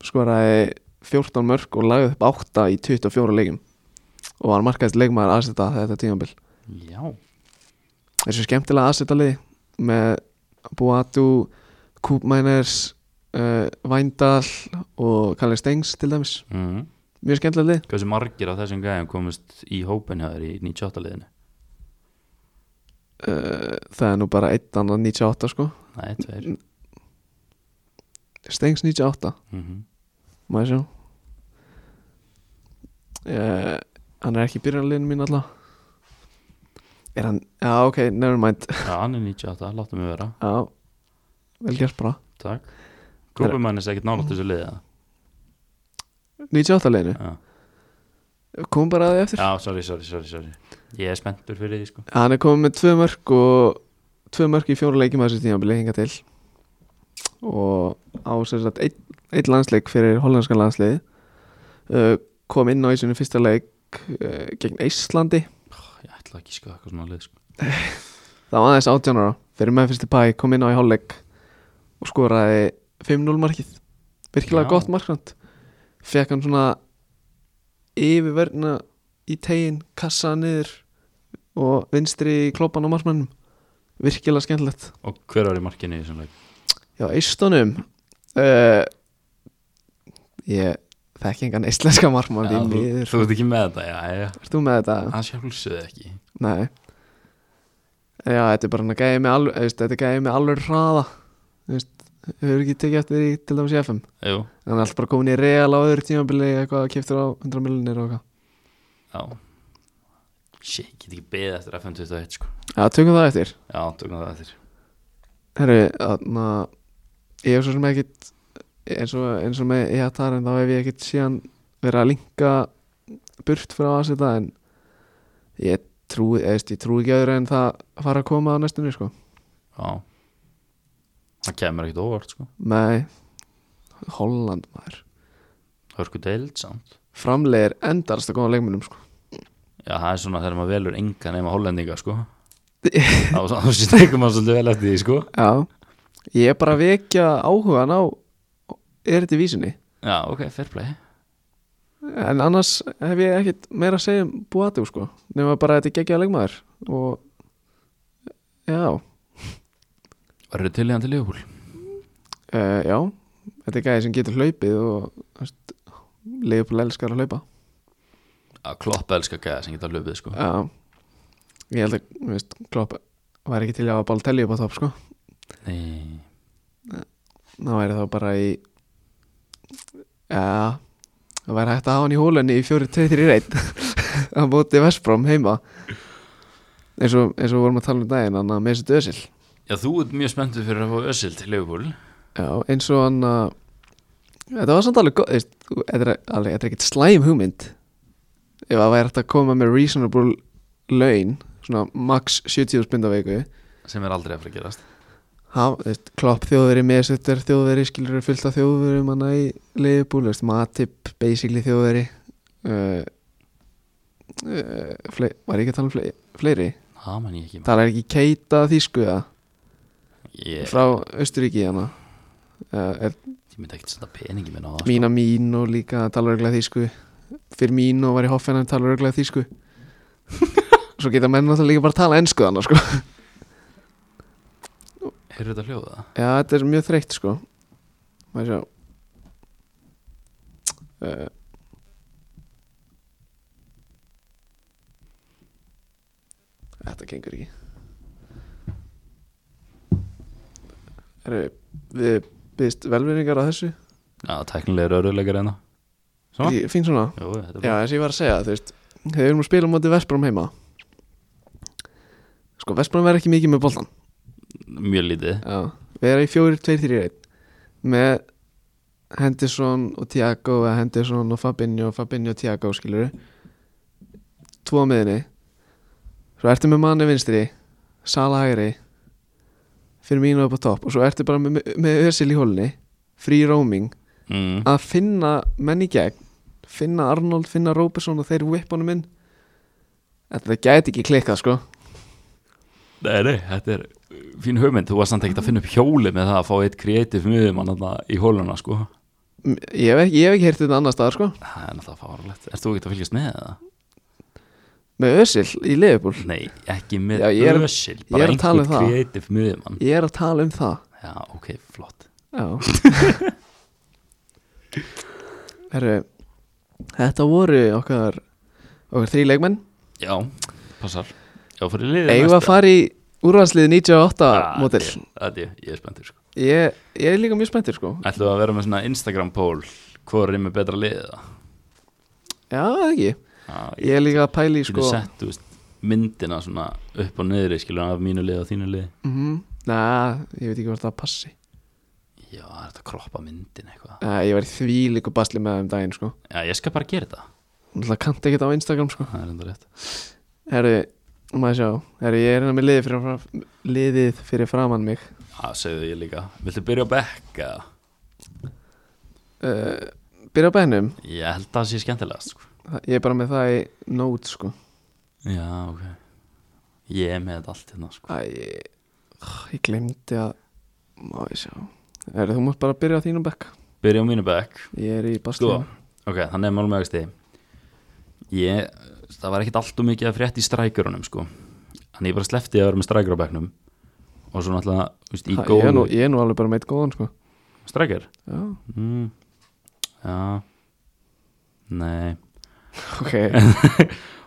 S1: Skoraði 14 mörg og lagði upp 8 í 24 leikum og var markaðist leikmaður aðseta þetta tímabil
S2: Já,
S1: Þessu skemmtilega aðseta liði með Boatu, Koopmæners uh, Vændal og Kalle Stengs til dæmis
S2: mm.
S1: Mjög skemmtilega liði
S2: hversu margir af þessum gæðum komist í hópen hjá þér í 98 liðinu?
S1: uh, Það er nú bara 1 annan 98 sko
S2: Nei, tveir
S1: Stengs 98
S2: mm
S1: Má ég sjá uh, Hann er ekki í byrjanleginu mín alltaf Er hann Já ok, nevermind
S2: Já, hann er 98, láttu mig vera
S1: Já, vel gert bara
S2: Takk Grúpumann er ekkert nálægt þessu liða
S1: 98 leginu,
S2: Já,
S1: kom bara að því eftir
S2: Já sorry, sorry, sorry, sorry Ég er spenntur fyrir því sko
S1: Hann er komið með tvö mörg og Tvö mörg í fjóra leikjum að þessu tíma Bili hinga til Og á sér satt eitt, eitt landsleik Fyrir hollenskan landsleið uh, Kom inn á í sinni fyrsta leik uh, Gegn Íslandi
S2: Ég ætla ekki sko eitthvað svona lið sko
S1: Það var aðeins 18 ára fyrir Memphis Depay kom inn á í hálfleik og skoraði 5-0 markið virkilega
S2: Já.
S1: gott markrand fekk hann svona yfirverðina í tegin kassa niður og vinstri í kloppan á markmannum virkilega skemmtilegt
S2: Og hver var í markinu í þessum leik?
S1: Já, eistunum uh, ég þekki engan íslenska markmann
S2: Já,
S1: í
S2: þú,
S1: miður
S2: þú ert ekki með þetta, já, já
S1: Ert þú með þetta?
S2: Það sjálfsögðu ekki
S1: Nei Já, þetta er bara hann að gæði með alveg veist, Þetta er gæði með alveg hraða Þú veist, Hefur ekki tekið eftir í til dæmis í FM
S2: Jú,
S1: Þannig alltaf bara komin í real á öðru tímabili eitthvað að kiptur á 100 miljonir og eitthvað
S2: já Shit, ég get ekki beðið eftir FM21 sko
S1: Já, tökum það eftir
S2: Já, tökum það eftir
S1: Herru, þarna Ég hef svo sem ekkit eins og, eins og með ég að tala en þá hef ég ekkit síðan verið að linka burt frá að setja en ég trúi, eða, veist, ég trúi ekki öðru en það fara að koma á næstunni sko
S2: Já Það kemur ekkert óvart sko
S1: Nei, Holland maður
S2: Hörku deild samt
S1: framlegir endalst að góða leikmennum sko.
S2: Já, það er svona þegar maður velur enga nema hollendinga sko Þá þá sé tekum maður svolítið vel eftir því sko
S1: Já Ég er bara að vekja áhugan á er þetta í vísinni
S2: Já, ok, fair play
S1: en annars hef ég ekkit meira að segja um búatú sko nema bara að þetta er geggjaða leikmaður og já,
S2: Varir til í hann til Liverpool?
S1: uh, já þetta er gæði sem getur hlaupið og leifupúl elskar að hlaupa
S2: Já, klopp elskar gæða sem geta hlupið sko
S1: Já Ég held að, þú veist, klopp væri ekki til að bál telja upp á topp sko
S2: Nei,
S1: Það væri þá bara í Já Það væri hægt að hafa hann í hólunni í 4-2-3 reit Það bóti Vestbrom heima eins og, eins og vorum að tala um daginn hann að Mesut Özil
S2: Já, þú ert mjög spenntur fyrir að fá Ösil til Liverpool
S1: Já, eins og hann að Þetta var samt alveg góð veist, þú- Þetta er alveg, þetta er ekkert slæm hugmynd Ef það væri hægt að koma með reasonable laun Svona max 70 spinda viku
S2: sem er aldrei að fara að gerast
S1: haf, veist, klopp þjóðveri, meðsettur þjóðveri skilur fullt af þjóðveri manna í liðbúl, veist, matip, basically þjóðveri uh, uh, fle, var ég ekki að tala um fle, fleiri?
S2: það man ég ekki
S1: Það er ekki Keita þýsku eða?
S2: ég,
S1: frá Östuríki hana uh, er
S2: ég myndi ekki senda peningi minn á það
S1: Mína Mino líka talar örglega þýsku fyrir Mino var í Hoffenheim talar örglega þýsku svo geta menn alltaf líka bara að tala ensku þannig sko
S2: heyrðu þetta hljóða
S1: Já, þetta er mjög þreytt sko Má ég sjá uh, Þetta gengur ekki Erum við, við byggðist velvinningar að þessu?
S2: já, hérna. tæknilega eru örðulegar enna Svona?
S1: Ég finn svona
S2: jú, þetta er
S1: Já,
S2: bara
S1: þess að ég var að segja, þú veist Þegar við erum að spila á móti Vestbrom heima Sko, Vestbrom verður ekki mikið með boltan
S2: mjög lítið
S1: Já, vera í fjóri, tveir, þrjir, einn með Henderson og Tiago eða Henderson og Fabinho og Fabinho og Tiago skilur tvo á miðinni svo ertu með manni vinstri Sala hægri fyrir mínu upp á topp og svo ertu bara með, með Özil í hólni free roaming
S2: mm.
S1: að finna menn í gegn finna Arnold, finna Robertson og þeir whippunum inn þetta gæti ekki klikkað sko
S2: Nei, nei, þetta er fín hugmynd, þú varst samt ekkert að finna upp hjóli með það að fá eitt kreatív miðjumann þarna í hóluna sko
S1: M- ég hef ekki, ég hef ekki heyrt þetta annars staðar sko
S2: Það er náttúrulega fáralegt, ert þú ekkert að fylgjast með það?
S1: með Özil í Liverpool
S2: Nei, ekki með
S1: Já, ég er-
S2: ösil,
S1: ég er
S2: bara
S1: að tala um
S2: einhvern
S1: það.
S2: kreatív miðjumann
S1: Ég er að tala um það
S2: Já, ok, flott
S1: Já Herru, Þetta voru okkar okkar þrý leikmenn
S2: Já, passar Já, fyrir liðið
S1: Eigum við að fara í úrvalslið 98
S2: Ah,
S1: mótil
S2: þetta er- þetta er- Ég er spenntur sko
S1: ég, ég er líka mjög spenntur sko
S2: Ætlum við að vera með svona Instagram poll Hvor er með betra liðið það?
S1: Já, það ekki
S2: Já, ég
S1: Ég er líka að pæla í
S2: getur
S1: sko
S2: sett, þú veist, myndina svona upp og niður skilur af mínu liði og þínu liði
S1: mm Næ, ég veit ekki hvort það passi
S2: Já, það er þetta að kroppa myndin eitthvað
S1: Næ, ég var í því líku basli með það um daginn sko
S2: Já, ég skal bara gera þetta
S1: Það kannti ekkert á Instagram sko
S2: Það er enda rétt
S1: Herru, maður sjá Herru, ég er hérna með liðið fyrir, fram- liðið fyrir framann mig
S2: Það segðu ég líka Viltu byrja á bekk eða?
S1: uh, Byrja á bænum
S2: Ég held að það sé skemmtilegast sko.
S1: Það- Ég er bara með það í nót sko
S2: Já, ok Ég er með þetta allt hérna sko.
S1: Æ, ég- ég glemdi að Má ég sjá er, Þú mátt bara byrja á þínum bekk
S2: Byrja á mínu bekk
S1: Ég er í
S2: Sko,
S1: bastíðum
S2: ok, þannig er málum augustið Ég, það var ekkit allt og mikið að frétt í strækjörunum sko Þannig ég bara sleppti að vera með strækjör á bekknum Og svo náttúrulega, þú veist, í
S1: Ha, ég, er nú,
S2: góðu
S1: ég er nú alveg bara meitt góðan sko
S2: Strækjör?
S1: Já,
S2: Mm. Já Nei
S1: ok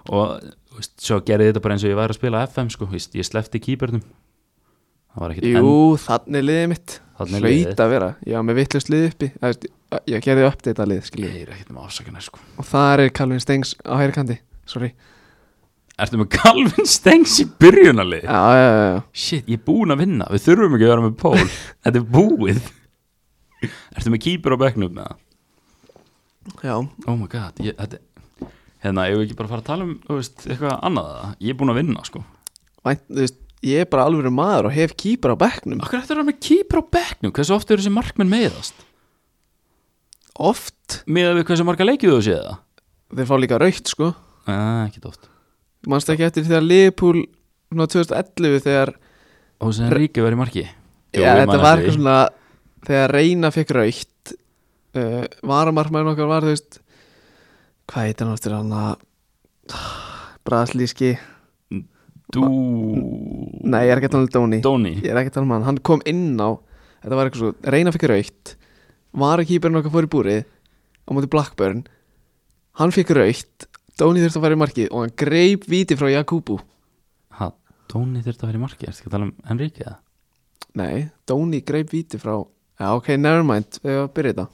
S2: og þú veist, svo gerði ég þetta bara eins og ég væri að spila FM sko, þú veist, ég slefti kýbörnum það var ekkert
S1: Jú, þannig er liðið mitt
S2: Þarna er liðið.
S1: Hlaut að vera Já, með vittlust lið uppi Það veist, Ég gerði upp þetta lið
S2: en
S1: skilur
S2: ég er ekkert með afsakana sko
S1: Og þar er Calvin Stengs á hægri kandi Sorry
S2: Ertu með Calvin Stengs í byrjunali?
S1: Já, já, já, já
S2: Shit, ég er búinn að vinna, við þurfum ekki að vera með Pól Þetta er búið Ertu með kýpur á bekknum með það?
S1: Já,
S2: Oh my god, ég, þetta Hérna, ég við ekki bara að fara að tala um, þú veist, eitthvað annað eða? Ég er búinn að vinna sko
S1: vænt, þú veist Ég er bara alveg maður og hef kýpar á bekknum
S2: Akkur eftir að vera með kýpur á bekknum, hversu oft eru þessi markmenn meðast?
S1: Oft
S2: Meðað við hversu marga leikið þú séð það?
S1: Þeir fá líka raukt sko
S2: Ah, ekki oft
S1: Manst ekki eftir þegar Liverpool svona 2011 þegar
S2: Og sem Ríki var í marki Jú,
S1: Já,
S2: ég man
S1: þetta var
S2: eftir því.
S1: eitthvað svona þegar Reyna fekk raukt uh, varamarkmæðin okkar var þú veist hvað heitir hann eftir hann að Braslíski
S2: Dú
S1: Nei, ég er ekki að tala um Dóni
S2: Dóni
S1: Ég er ekki að tala um hann, hann kom inn á þetta var eitthvað svo, Reyna fekk raukt varakýparinn okkar fór í búrið á móti Blackburn hann fekk raukt, Dóni þurfti að fara í markið og hann greip víti frá Jakubu
S2: ha, Dóni þurfti að vera í marki Ertu ekki að tala um Enrique eða?
S1: Nei, Dóni greip víti frá Já, ok, nevermind, við erum að byrja þetta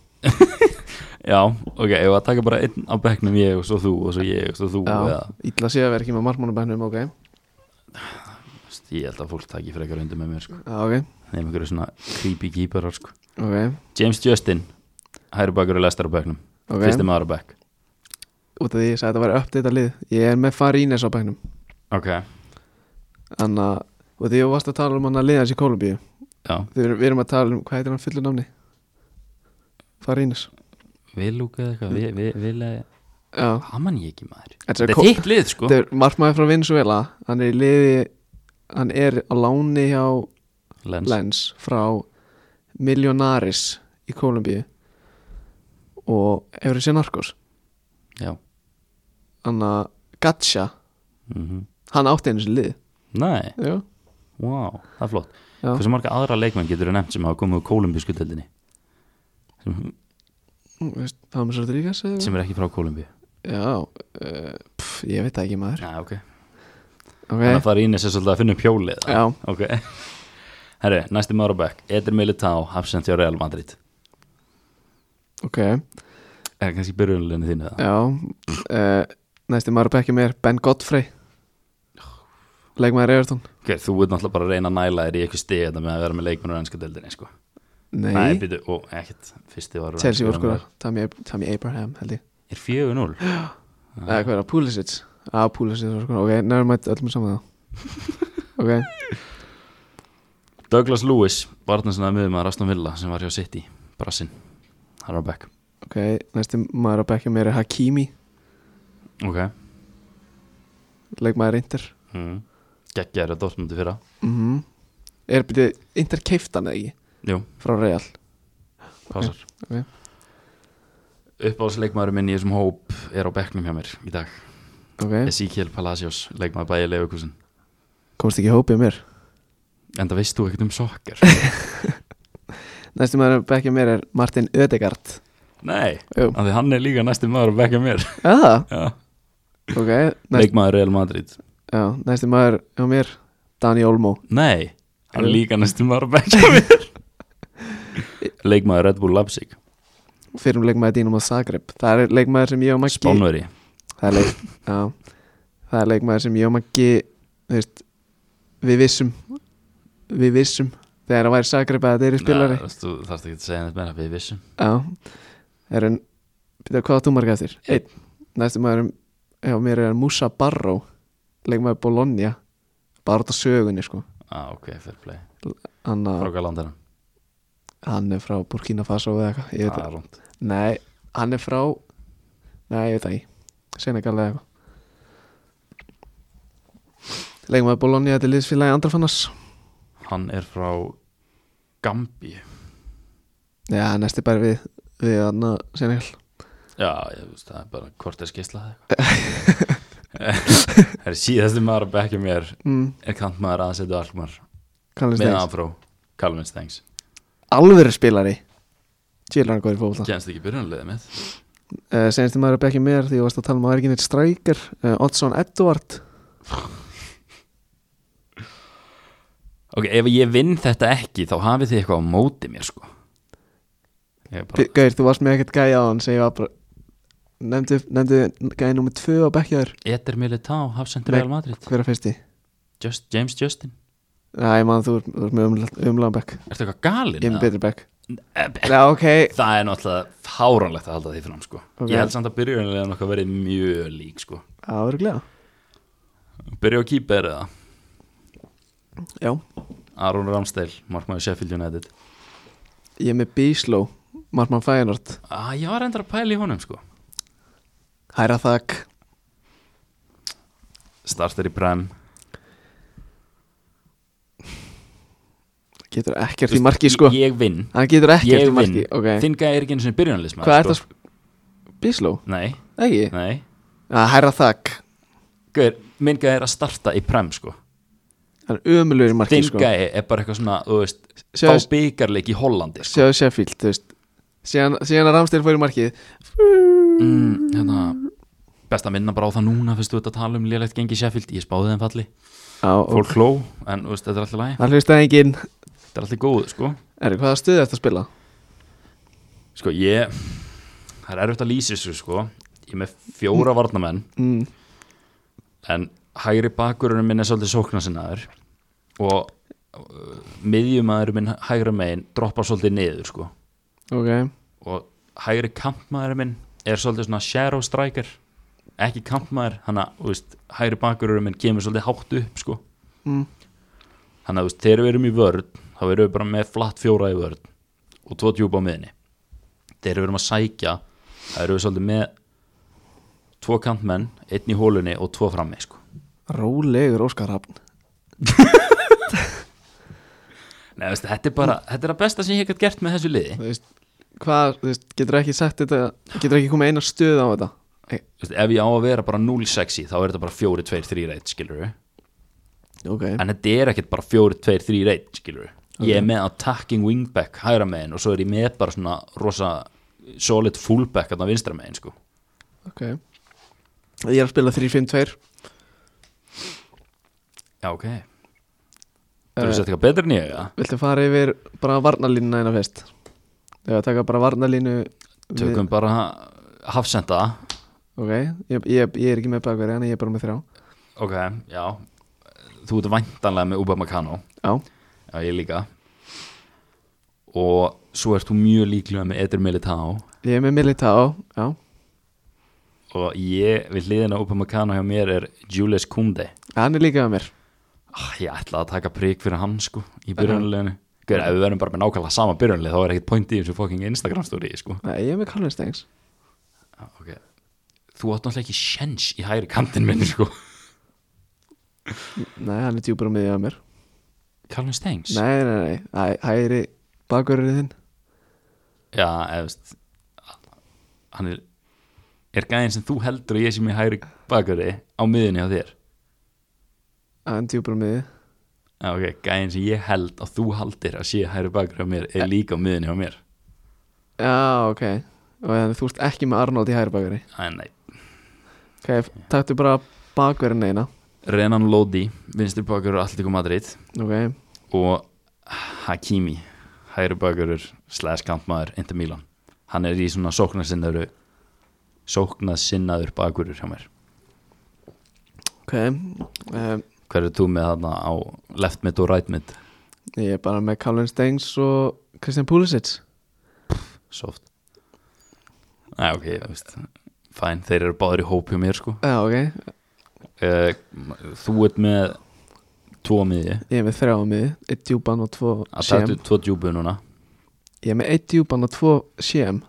S2: Já, ok, ég var að taka bara einn á bekknum ég og svo þú og svo ég og svo þú
S1: Já,
S2: eða,
S1: illa sé að vera ekki með markmannabænum, ok
S2: þú veist, Ég held að fólk taki frekar undir með mér sko.
S1: Já, ok,
S2: Nefnum einhverju svona creepy keeperar sko.
S1: ok,
S2: James Justin Hæru bakur og lestar á bekknum
S1: ok
S2: Fyrsti maður á bekk
S1: Út af því ég sagði að þetta var uppdata lið Ég er með Farines á bænum
S2: Ok,
S1: Þannig að, út af því ég varst að tala um hann að liðans í Kolumbíu
S2: já,
S1: Við erum, við erum að tala um, hvað heitir hann fullu námni? Farínus
S2: Vilúka eða eitthvað Vil- Vil- eh, Vil-
S1: Já,
S2: Það man ég ekki maður
S1: þetta
S2: Þetta
S1: er,
S2: er þitt lið sko
S1: þetta er markmaður frá Venezuela Hann er í liði Hann er á láni hjá
S2: Lens.
S1: Lens frá Millionaris í Kolumbíu og hefur þessi narkos
S2: Já
S1: hann að Gatsha
S2: mm
S1: hann átti einu sinni lið
S2: Nei,
S1: Já,
S2: vá, það er flott
S1: Já.
S2: Hversu marga aðra leikmenn getur þú nefnt sem hafa komið úr kólumbísku deildinni sem,
S1: þú veist, það var með svolítið líka segðu
S2: sem er ekki frá kólumbíu
S1: Já, uh, pff, ég veit það ekki maður
S2: Já, ok Þannig að
S1: Ok,
S2: það er ínes svolítið að finna um hjólið
S1: Já.
S2: Ok Herri, næsti maður á bekk Edir Militao, absent hjá Real Madrid
S1: ok,
S2: Eða kannski byrjunleginu þínu það
S1: já uh, Næsti maður bekki mér, Ben Godfrey Leikmaður Everton
S2: okay, Þú ert náttúrulega bara að reyna að næla þér í eitthvað stið þetta með að vera með leikmenn úr ennska deildinni sko.
S1: Nei,
S2: Nei, býtu, og ekkert Fyrsti var
S1: Chelsea voru skora Tammy, Ab- Tammy Abraham held ég
S2: Er Ah. 4-0?
S1: Eða hvað er það, Pulisic Já, Pulisic voru skora, ok, nærmætt öllum er saman þá Ok,
S2: Douglas Lewis, varnarsnaði miður maður Aston Villa sem var hjá City, Brassin hann var back
S1: ok, næsti maður bekki mér er Hakimi
S2: ok
S1: Leikmaður Inter
S2: mm. geggjaður að Dortmundi fyrra
S1: mm Er byrjuð Inter keiftan eða ekki
S2: Mhm. jú,
S1: frá Real
S2: pásar
S1: ok.
S2: uppáðsleikmaður minn í þessum hóp er á bekknum hjá mér í dag
S1: Ok,
S2: Ezekiel Palacios, leikmaður bæja leifukúsin
S1: komst ekki í hópið mér
S2: en það veist þú ekkert um sokkar
S1: Næsti maður að bekja mér er Martin Ödegard
S2: nei,
S1: Jú.
S2: af því hann er líka næsti maður að bekka mér
S1: Já,
S2: Já.
S1: ok næsti,
S2: leikmaður Real Madrid
S1: já, næsti maður hjá mér Dani Olmo
S2: nei, hann er
S1: Jú.
S2: líka næsti maður að bekka mér leikmaður Red Bull Leipzig
S1: Fyrir um leikmaður Dínum að Zagreb Það er leikmaður sem ég og Maggi
S2: Spánveri
S1: það, er leik, já, það er leikmaður sem ég og Maggi þú veist, Við vissum Við vissum Þegar það væri Zagreb að þetta eru spilari
S2: Nei, þú þarfst ekki að segja neitt meira, við vissum
S1: Já, er en Býta, hvað þú margir eftir?
S2: Einn.
S1: Næsti maður hjá mér er Musa Barro Leikmaður Bologna Bara út á sögunni sko
S2: ah, ok, fair play,
S1: Hann að
S2: frá hvað land er hann?
S1: Hann er frá Burkina Faso eða eitthvað Ég veit
S2: það
S1: það
S2: er rúnt
S1: Nei, hann er frá Nei, ég veit það ekki Senegal eða eitthvað Leggum við að Bologna Þetta er liðsfélagi Andrafannas
S2: hann er frá Gambi
S1: Já, næsti bara við Við hann að Senegal
S2: já, ég veist, það er bara hvort er skisla það er síðasti maður að bekka mér
S1: mm,
S2: er kantmaður aðsetu Alkmar
S1: Kallin
S2: með
S1: Steins
S2: afró, Calvin Stengs
S1: Alvöru spilari Tjélur hann góður í fótbolta
S2: genst ekki byrjunlega með
S1: uh, Senstu maður að bekki mér Því ég varst að tala um að er ekki neitt strækir uh, Oddsson Edward
S2: ok, ef ég vinn þetta ekki þá hafið þið eitthvað á móti mér sko ég er bara,
S1: Gauir, þú varst með ekkert gæja á hann Sem ég var bara Nefndu, nefndu gæja nummer tvö á bekkjaður
S2: Eter Militá, Hafsendur
S1: Nei.
S2: Real Madrid
S1: Hver er fyrsti?
S2: Just, James Justin,
S1: Nei, mann, þú ert þú ert með umlaðan bekk
S2: ertu eitthvað galinn?
S1: Ég er með betri bekk
S2: betri
S1: Já, ok
S2: Það er náttúrulega fáránlegt að halda því fram sko.
S1: Ok.
S2: Ég held samt að byrjunlega nokkað verið mjög lík sko.
S1: Það verður glæða
S2: Byrja á kýper eða
S1: Já
S2: Aron Ramsteil, markmaður Sheffield United
S1: Ég er með Bísló Marman Fæinort
S2: ah, Ég var endur að pæla í honum sko.
S1: Hæra þakk
S2: Starter í Prem
S1: Getur ekkert í marki, sko
S2: Ég vinn,
S1: Hann getur ekkert
S2: ég
S1: í
S2: vinn
S1: marki Ok
S2: Þinn gæði er ekki einu sinni byrjunlega
S1: Hvað er það? sp- Bísló?
S2: Nei,
S1: Ekki
S2: nei
S1: ah, Hæra þakk
S2: Guður, minn gæði er að starta í Prem sko.
S1: Hann er ömulur í marki,
S2: Þinn
S1: sko
S2: gæði er bara eitthvað svona þú veist, Fá
S1: Sjáðu-
S2: byggarleik í Hollandi sko.
S1: Sjáðu Sheffield, þú veist Síðan, síðan að Ramstein fór í markið
S2: mm, hérna, Best að minna bara á það núna Fyrstu þetta tala um lélegt gengi Sheffield Ég spáði þeim falli
S1: Já, og
S2: fólk hló, en þú veist, þetta er alltaf læg
S1: hann hlustaði enginn
S2: þetta er alltaf góð, sko
S1: Erri, hvaða stuði þetta að spila?
S2: sko, ég, það er erfitt að lýsa þessu, sko ég er með fjóra varnamenn
S1: Mm.
S2: en hægri bakurinn minn er svolítið sóknarsinnaður og uh, miðjumæður minn hægra megin droppar svolítið niður, sko
S1: Ok
S2: og hægri kampmaður minn er svolítið svona shadow striker ekki kampmaður, hann að, þú veist hægri bakurinn minn kemur svolítið hátt upp, sko
S1: mm.
S2: þannig að þú veist, þegar við erum í vörð þá þá erum við bara með flatt fjóra í vörð og tvo djúpa á miðinni þegar við erum að sækja þá erum við svolítið með tvo kantmenn, einn í hólunni og tvo frammi sko.
S1: Rólegur Óskar Hafn
S2: Nei, veist, þetta, er bara, þetta er að besta sem ég hef gert gert með þessu liði
S1: Þú veist, hvað, þú veist, getur ekki sagt þetta Getur ekki komið eina stuð á þetta Hey,
S2: veist, ef ég á að vera bara 0-6 í, þá er þetta bara 4-2-3-1 skilur við
S1: Ok,
S2: en þetta er ekkert bara 4-2-3-1 skilur ég er með attacking wingback hægra megin og svo er ég með bara svona rosa solid fullback að vinstra megin sko
S1: ok Ég er að spila 3-5-2
S2: já ok
S1: Eh.
S2: þú veist eitthvað betur en ég ja?
S1: Viltu fara yfir bara varnarlínuna eina fyrst Þegar að taka bara varnarlínu við-
S2: tökum bara hafsenda
S1: Ok, ég, ég, ég er ekki með bakverði Þannig ég er bara með þrjá
S2: ok, já þú ert væntanlega með Upamecano
S1: Já,
S2: já ég líka og svo ert þú mjög líklega með Eder Militao
S1: ég er með Militao Já,
S2: og ég við hliðina á Upamecano hjá mér er Julius Kunde
S1: hann er líka með mér
S2: Ah, Ég ætlaði að taka prík fyrir hann sko í byrjunleginu Gauður, ef við verðum bara með nákvæmlega sama byrjunleg þá er ekkert point í þessu fucking Instagram story sko.
S1: Nei, ég er með Calvin Stengs
S2: ah, okay. Þú átt náttúrulega ekki sjens í hægri kantin minni sko
S1: Nei, hann er djúpur á miðið á mér
S2: Calvin Stengs
S1: Nei, nei, nei, Æ, hægri bakverðið þinn
S2: Já, eða veist Hann er, er gæðin sem þú heldur og ég sem í hægri bakari á miðinni á þér
S1: Hann er djúpur á miðið
S2: Já, ok, gæðin sem ég held og þú haldir að sé í hægri bakari á mér er líka á miðinni á mér
S1: Já, ok Og þannig þú ert ekki með Arnold í hægri bakverði
S2: Æ, nei
S1: Ok, taktu bara bakverðin eina
S2: Renan Lodi, vinstri bakari á Alltíku Madrid
S1: Ok,
S2: og Hakimi hægri bakurur slash kantmaður Inter Milan, hann er í svona sóknarsinnaður sóknarsinnaður bakurur hjá mér
S1: ok um,
S2: hver er þú með þarna á left mid og right mid
S1: Ég er bara með Calvin Stengs og Christian Pulisic
S2: soft Æ, ok, ég veist fæn, þeir eru báður í hóp hjá mér sko
S1: Já, ok,
S2: uh, þú ert með tvo miði,
S1: ég er með þrjá á miðið Eitt djúpan og tvo
S2: að
S1: sjem
S2: tættu tvo djúbu núna
S1: Ég er með eitt djúpan og tvo sjem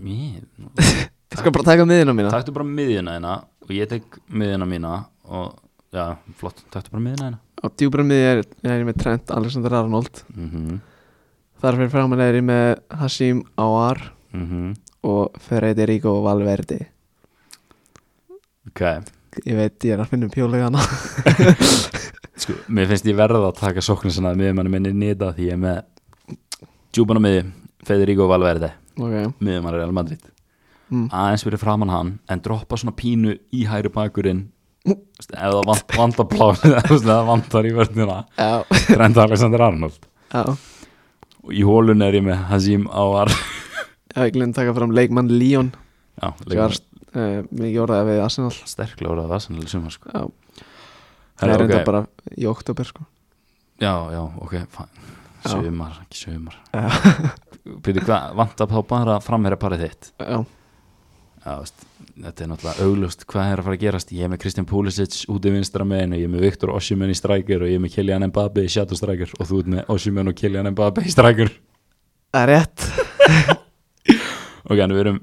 S2: Mér,
S1: Ég skal bara taka miðina mína
S2: taktu bara miðina þína og ég tek miðina mína og, já, flott, taktu bara miðina þína
S1: Á djúpur á miðið er, er ég með Trent Alexander Arnold
S2: mhm
S1: Þar fyrir framan er ég með Hashim Awar
S2: mm
S1: og Federico Valverdi
S2: Ok,
S1: Ég veit, ég er að finna um pjólegana
S2: sko, mér finnst ég verða að taka sóknir svona að miðumann minni nýta því ég er með djúpan á miði, Federico Valverde
S1: Ok,
S2: miðumann Real Madrid
S1: Mm.
S2: aðeins verið framann hann en droppa svona pínu í hæri bakurinn ef það vant, vantar plán ef það vantar í vörnina
S1: já,
S2: Trent Alexander Arnold
S1: já
S2: og í hólun er ég með Hazim Áar
S1: Já, ég glemt að taka fram leikmann Leon
S2: já,
S1: sem var
S2: leikmaður-
S1: uh, mikið orðaði við Arsenal
S2: sterklega orðað það sannlega sumar sko
S1: Já, það
S2: Herra,
S1: er enda
S2: ok.
S1: bara í oktober sko
S2: já, já, ok, fæn
S1: Já.
S2: sumar, ekki sumar
S1: Já,
S2: Pítur, hvað, vantar þá bara framherja parið þitt
S1: já,
S2: Já, veist, þetta er náttúrulega auglust hvað er að fara að gerast, ég er með Kristján Púlisic út í vinstra megin og ég er með Viktor Osimhen í strækjur og ég er með Kylian Mbappe í shadow strækjur og þú ert með Osimhen og Kylian Mbappe í strækjur
S1: það er rétt
S2: ok, en við erum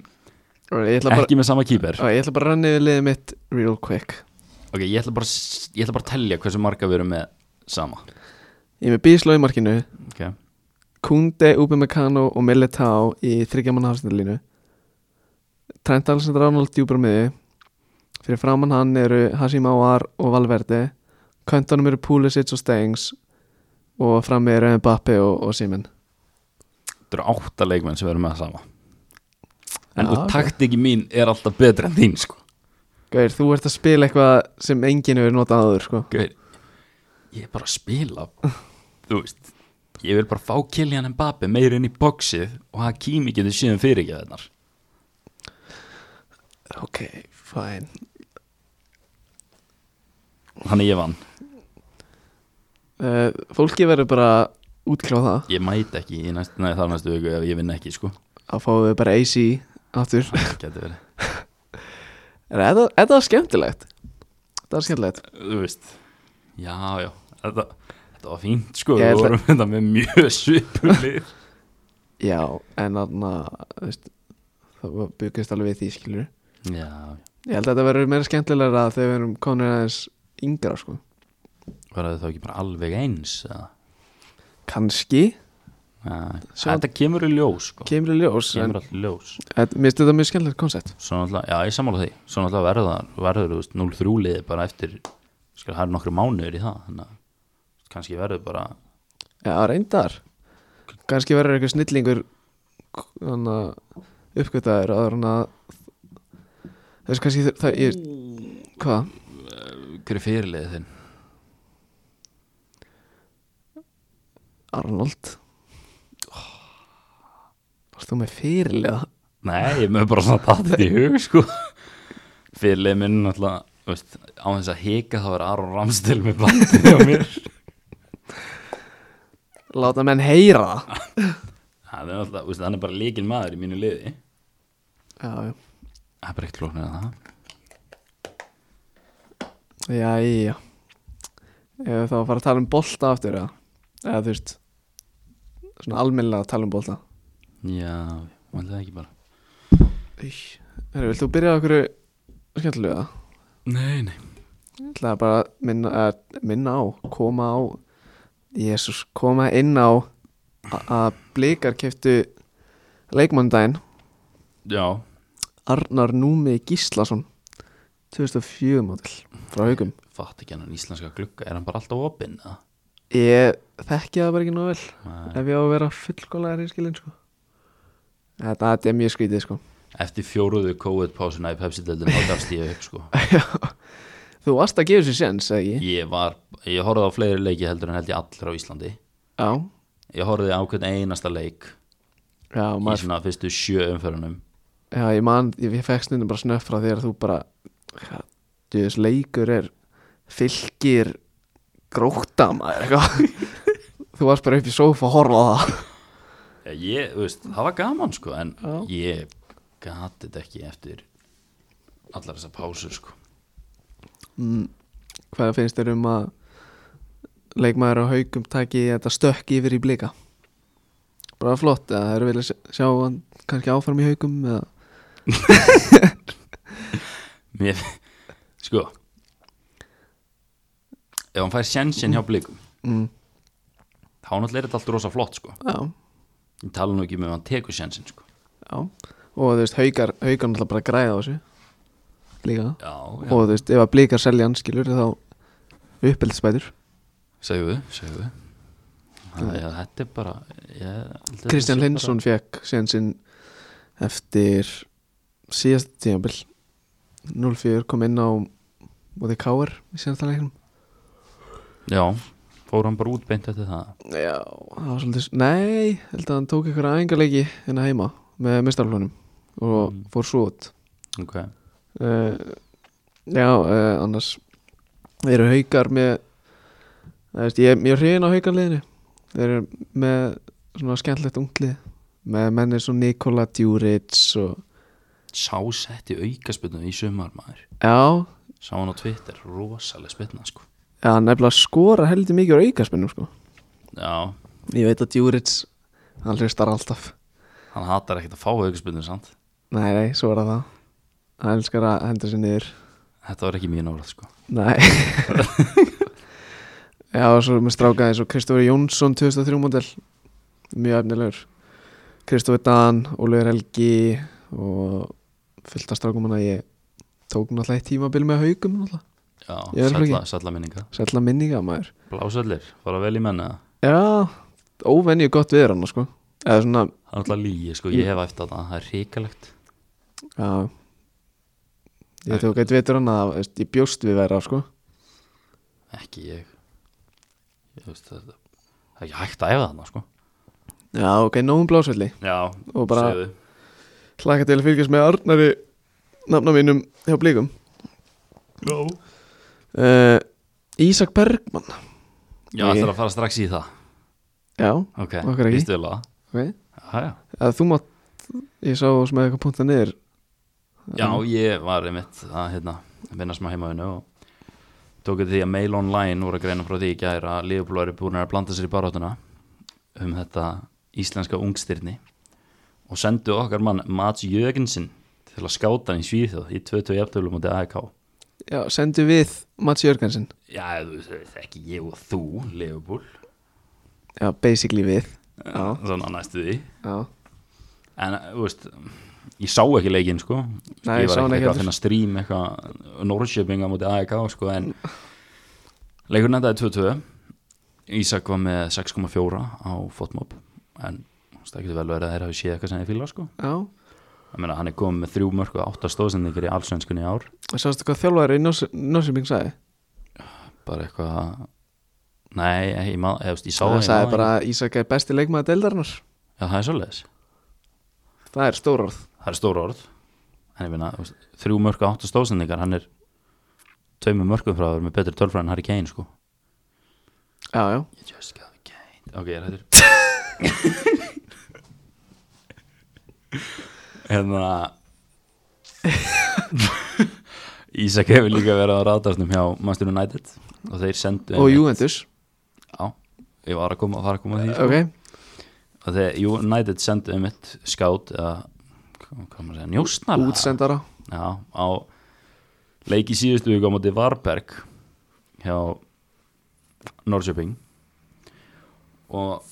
S1: Og Ég ætla bara,
S2: ekki með sama kýper
S1: og ég ætla bara að renni við liðið mitt real quick
S2: ok, ég ætla bara, s- ég ætla bara að telja hversu marga við erum með sama
S1: Ég er með Bísló í markinu
S2: ok,
S1: Kunde, Upamecano og Militao í þryggjaman hafsendalínu Trent Alexander-Arnold djúpar á miði fyrir framann hann eru Hashim Awar og Valverdi köntanum eru Pulisic og Stengs og frammi eru Mbappe og, og Simen
S2: þetta eru átta leikmenn sem við erum með sama en
S1: Já,
S2: ja,
S1: ok.
S2: taktiki mín er alltaf betri en þín sko
S1: Gauir, þú ert að spila eitthvað sem enginn hefur notað aður sko
S2: Gauir, ég er bara að spila Þú veist Ég vil bara fá Kylian Mbappe meir inn í boxið og Hakimi getur síðan fyrir ekki þennar
S1: Ok, fæn
S2: Hann er ég vann,
S1: uh, Fólki verður bara útkláð það
S2: ég mæti ekki í næst, nei, þar næstu viku ef ég vinn ekki sko
S1: að fáum við bara AC aftur
S2: Gæti verið,
S1: Er þetta- Þetta var skemmtilegt Þetta var skemmtilegt
S2: þú veist Já, já, þetta, Þetta var fínt
S1: Ég
S2: sko, við
S1: held að-
S2: vorum þetta með mjög svipulið
S1: Já, en þarna þú veist, það var- byggist alveg við því skilur
S2: Já,
S1: Ég held að þetta verður meira skemmtilega þegar við erum konir aðeins yngra sko
S2: var það þá ekki bara alveg eins eða?
S1: Kanski,
S2: Já,
S1: Sjá-
S2: Þetta kemur í ljós sko
S1: kemur í ljós en
S2: Kemur allir ljós
S1: en Mér finnst þetta mjög skemmtilegt koncept
S2: Svo náttúrulega, já ég sammála því Svo náttúrulega verður, verður þú veist, 0-3 liði bara eftir skal, Það eru nokkru mánuður í það Þannig að kannski verður bara
S1: Já, reyndar Kanski verður eitthvað snillingur þannig að uppgötaður áður en að þess kannski þur- það ég, hvað?
S2: Hver er fyrirliðið þinn?
S1: Arnold Varst þú með fyrirlega?
S2: Nei, ég mögur bara svona datt þetta í hug sko Fyrirliðið minn náttúrulega þú veist, Á þess að hika þá er Aron Ramstil með blandið á mér
S1: Láta menn heyra það
S2: Það er náttúrulega, þú veist, hann er bara líkin maður í mínu liði
S1: Já, já
S2: Það er bara ekkert flóknir að það
S1: Já, já Ef þá að fara að tala um bolta aftur eða, eða þú veist svona almennilega að tala um bolta
S2: Já, vanlega ekki bara
S1: Herru, vilt þú byrja okkur skemmtilega?
S2: Nei, nei
S1: Ég ætla bara að minna, að minna á koma á Jésús, koma inn á a- að blikar keftu leikmöndaginn
S2: Já,
S1: Arnar Númi Gíslason 2004 mótil frá haugum
S2: fatt ekki hann íslenska glugga Er hann bara alltaf opinn? eða?
S1: Ég þekki það bara ekki nóg vel
S2: Nei.
S1: ef ég á að vera fullkólaðar í skilin sko. þetta, þetta er mjög skrítið sko.
S2: Eftir fjóruðu COVID-pásuna í Pepsi-deldinu þá gafst ég upp sko
S1: þú varst að gefa sér sens, eða ekki?
S2: Ég var, ég horfði á fleiri leiki heldur en held ég allir á Íslandi
S1: já,
S2: Ég horfði á hvern einasta leik
S1: já,
S2: í
S1: maður,
S2: svona fyrstu sjö umförunum
S1: já ég man ég, ég fekk stundum bara snöf frá þér að þú bara djöðis leikur er fylgir gróta maður eitthvað þú varst bara upp í sófa að horfa á það
S2: Eh, Ég, þú veist, það var gaman sko en
S1: Já.
S2: ég gati þetta ekki eftir allar þessar pásur sko
S1: mm, hvað finnst þér um að leikmaður á haugum taki þetta stökk yfir í blika bara flott eða þeir vilja sjá- sjá hann kannski áfram í haugum eða
S2: Mér, sko Ef hann fær sjensin hjá blikum
S1: mm,
S2: þá náttúrulega er þetta allt rosa flott sko
S1: já,
S2: Ég tala nú ekki um ef hann tekur sjensin sko
S1: já og þú veist haugar, haugar náttúrulega bara græða á þessu líka
S2: Já,
S1: og þú veist ef að blikar selja hann skilur þá uppeldspætur
S2: segðu, segðu Þannig að þetta er bara ég,
S1: Kristján Lindsson fekk síðan sinn eftir síðast tímabil 04 kom inn á móti Káar í síðasta leiknum
S2: Já, fór hann bara út beint eftir það
S1: Já, það var svolítið Nei, held að hann tók eitthvað æfingarleiki hérna heima með mistarflunum og
S2: Mm.
S1: fór svo út
S2: Ok,
S1: uh, Já, uh, annars eru haukar með það veist, ég er mjög hrifin á haukarliðinu þeir eru með svona skemmtlegt unglið með mennir svo Nikola Djuric og
S2: sá setti aukaspilna í sumar maður
S1: já,
S2: Sá hann á Twitter, rosalega spilna sko
S1: já, nefnilega skora heldur mikið á aukarspennum sko
S2: Já,
S1: Ég veit að Djuric, hann hlustar alltaf
S2: hann hatar ekkert að fá aukaspilna samt
S1: Nei, nei, svo er það það Hann elskar að henda sér niður
S2: Þetta var ekki mín orð sko
S1: Nei Já, og svo með strákaði eins og Kristofur Jónsson 2003 model Mjög efnilegur Kristofur Dan, Ólfur Helgi og fullt af strákum hann að ég tók náttúrulega eitt tímabil með haugum náttúrulega,
S2: Já,
S1: Ég er
S2: sætla,
S1: ekki.
S2: sætla minninga
S1: sætla minninga maður
S2: Blásallir, fara vel í menna
S1: Já, óvenju gott viður hann sko eða svona,
S2: Það er alltaf lígi sko, ég hef eftir þetta, það er hrikalegt
S1: já ég tók eitt vitur hann að veist, ég bjóst við vera sko
S2: Ekki ég Ég veist þetta Það er ekki hægt að æfa þarna sko
S1: Já, ok, nógum blásvelli
S2: Já,
S1: Og bara-
S2: segðu
S1: Hlaka til að fylgjast með Arnari nafna mínum hjá blíkum
S2: Já
S1: uh, Ísak Bergman
S2: Já,
S1: Nei.
S2: það er að fara strax í það
S1: Já,
S2: Ok,
S1: Okkur ekki.
S2: líst vel á það
S1: ok
S2: Já, já.
S1: að Þú mátt, ég sá sem með eitthvað punta niður
S2: já, ég var einmitt að hérna, vinna smá heimaðinu og tók eftir því að Mail Online voru að greina frá því í gær að Liverpool eru búin að blanda sér í baráttuna um þetta íslenska ungstyrni og sendu okkar mann Mats Jögensen til að skáta hann í Svíþjóð í 20 jafntöflum á DAK
S1: Já, sendu við Mats Jörgensen
S2: Já, þú veist ekki ég og þú Liverpool,
S1: Já, basically við Já.
S2: svona næstu því
S1: Já,
S2: en þú veist ég sá ekki leikinn sko
S1: Nei,
S2: ég
S1: ég sá
S2: var
S1: hann ekki
S2: ekki eitthvað
S1: heldur.
S2: að finna strím eitthvað Norrköping á móti AEK sko en leikurinn endaði 2-2 Ísak var með 6,4 á fotmob en þú veist, það getur vel verið að þeir hafi séð eitthvað sem ég fíla sko
S1: já
S2: ég meina hann er komið með þrjú mörg og átta stóðsendingar í allsvenskunni í ár
S1: Og sástu hvað þjálfari í Norsjöping sagði?
S2: bara eitthvað nei, ég, ég, ég, ég, ég sá
S1: Það
S2: í
S1: sagði
S2: maður-
S1: bara að Ísak er besti leikmaður deildarinnar
S2: já, það er svoleiðis
S1: Það er stór orð
S2: það er stór orð en ég finna, þrjú mörg og átta stóðsendingar hann er tveimur mörgum frá að vera með betri tölfræð en Harry Kane sko
S1: Já, já
S2: You just got Kane ok, ég er hættur hérna Ísak hefur líka verið á ráðarsnum hjá Manchester United og þeir sendu
S1: Og Juventus
S2: já, ég var að koma, fara að koma að því
S1: Ok,
S2: og þeir United sendu um eitt skátt eða hvað hvað maður að segja, njósnara
S1: útsendara
S2: Já, á leiki síðustu viku á móti Varberg hjá Norrköping og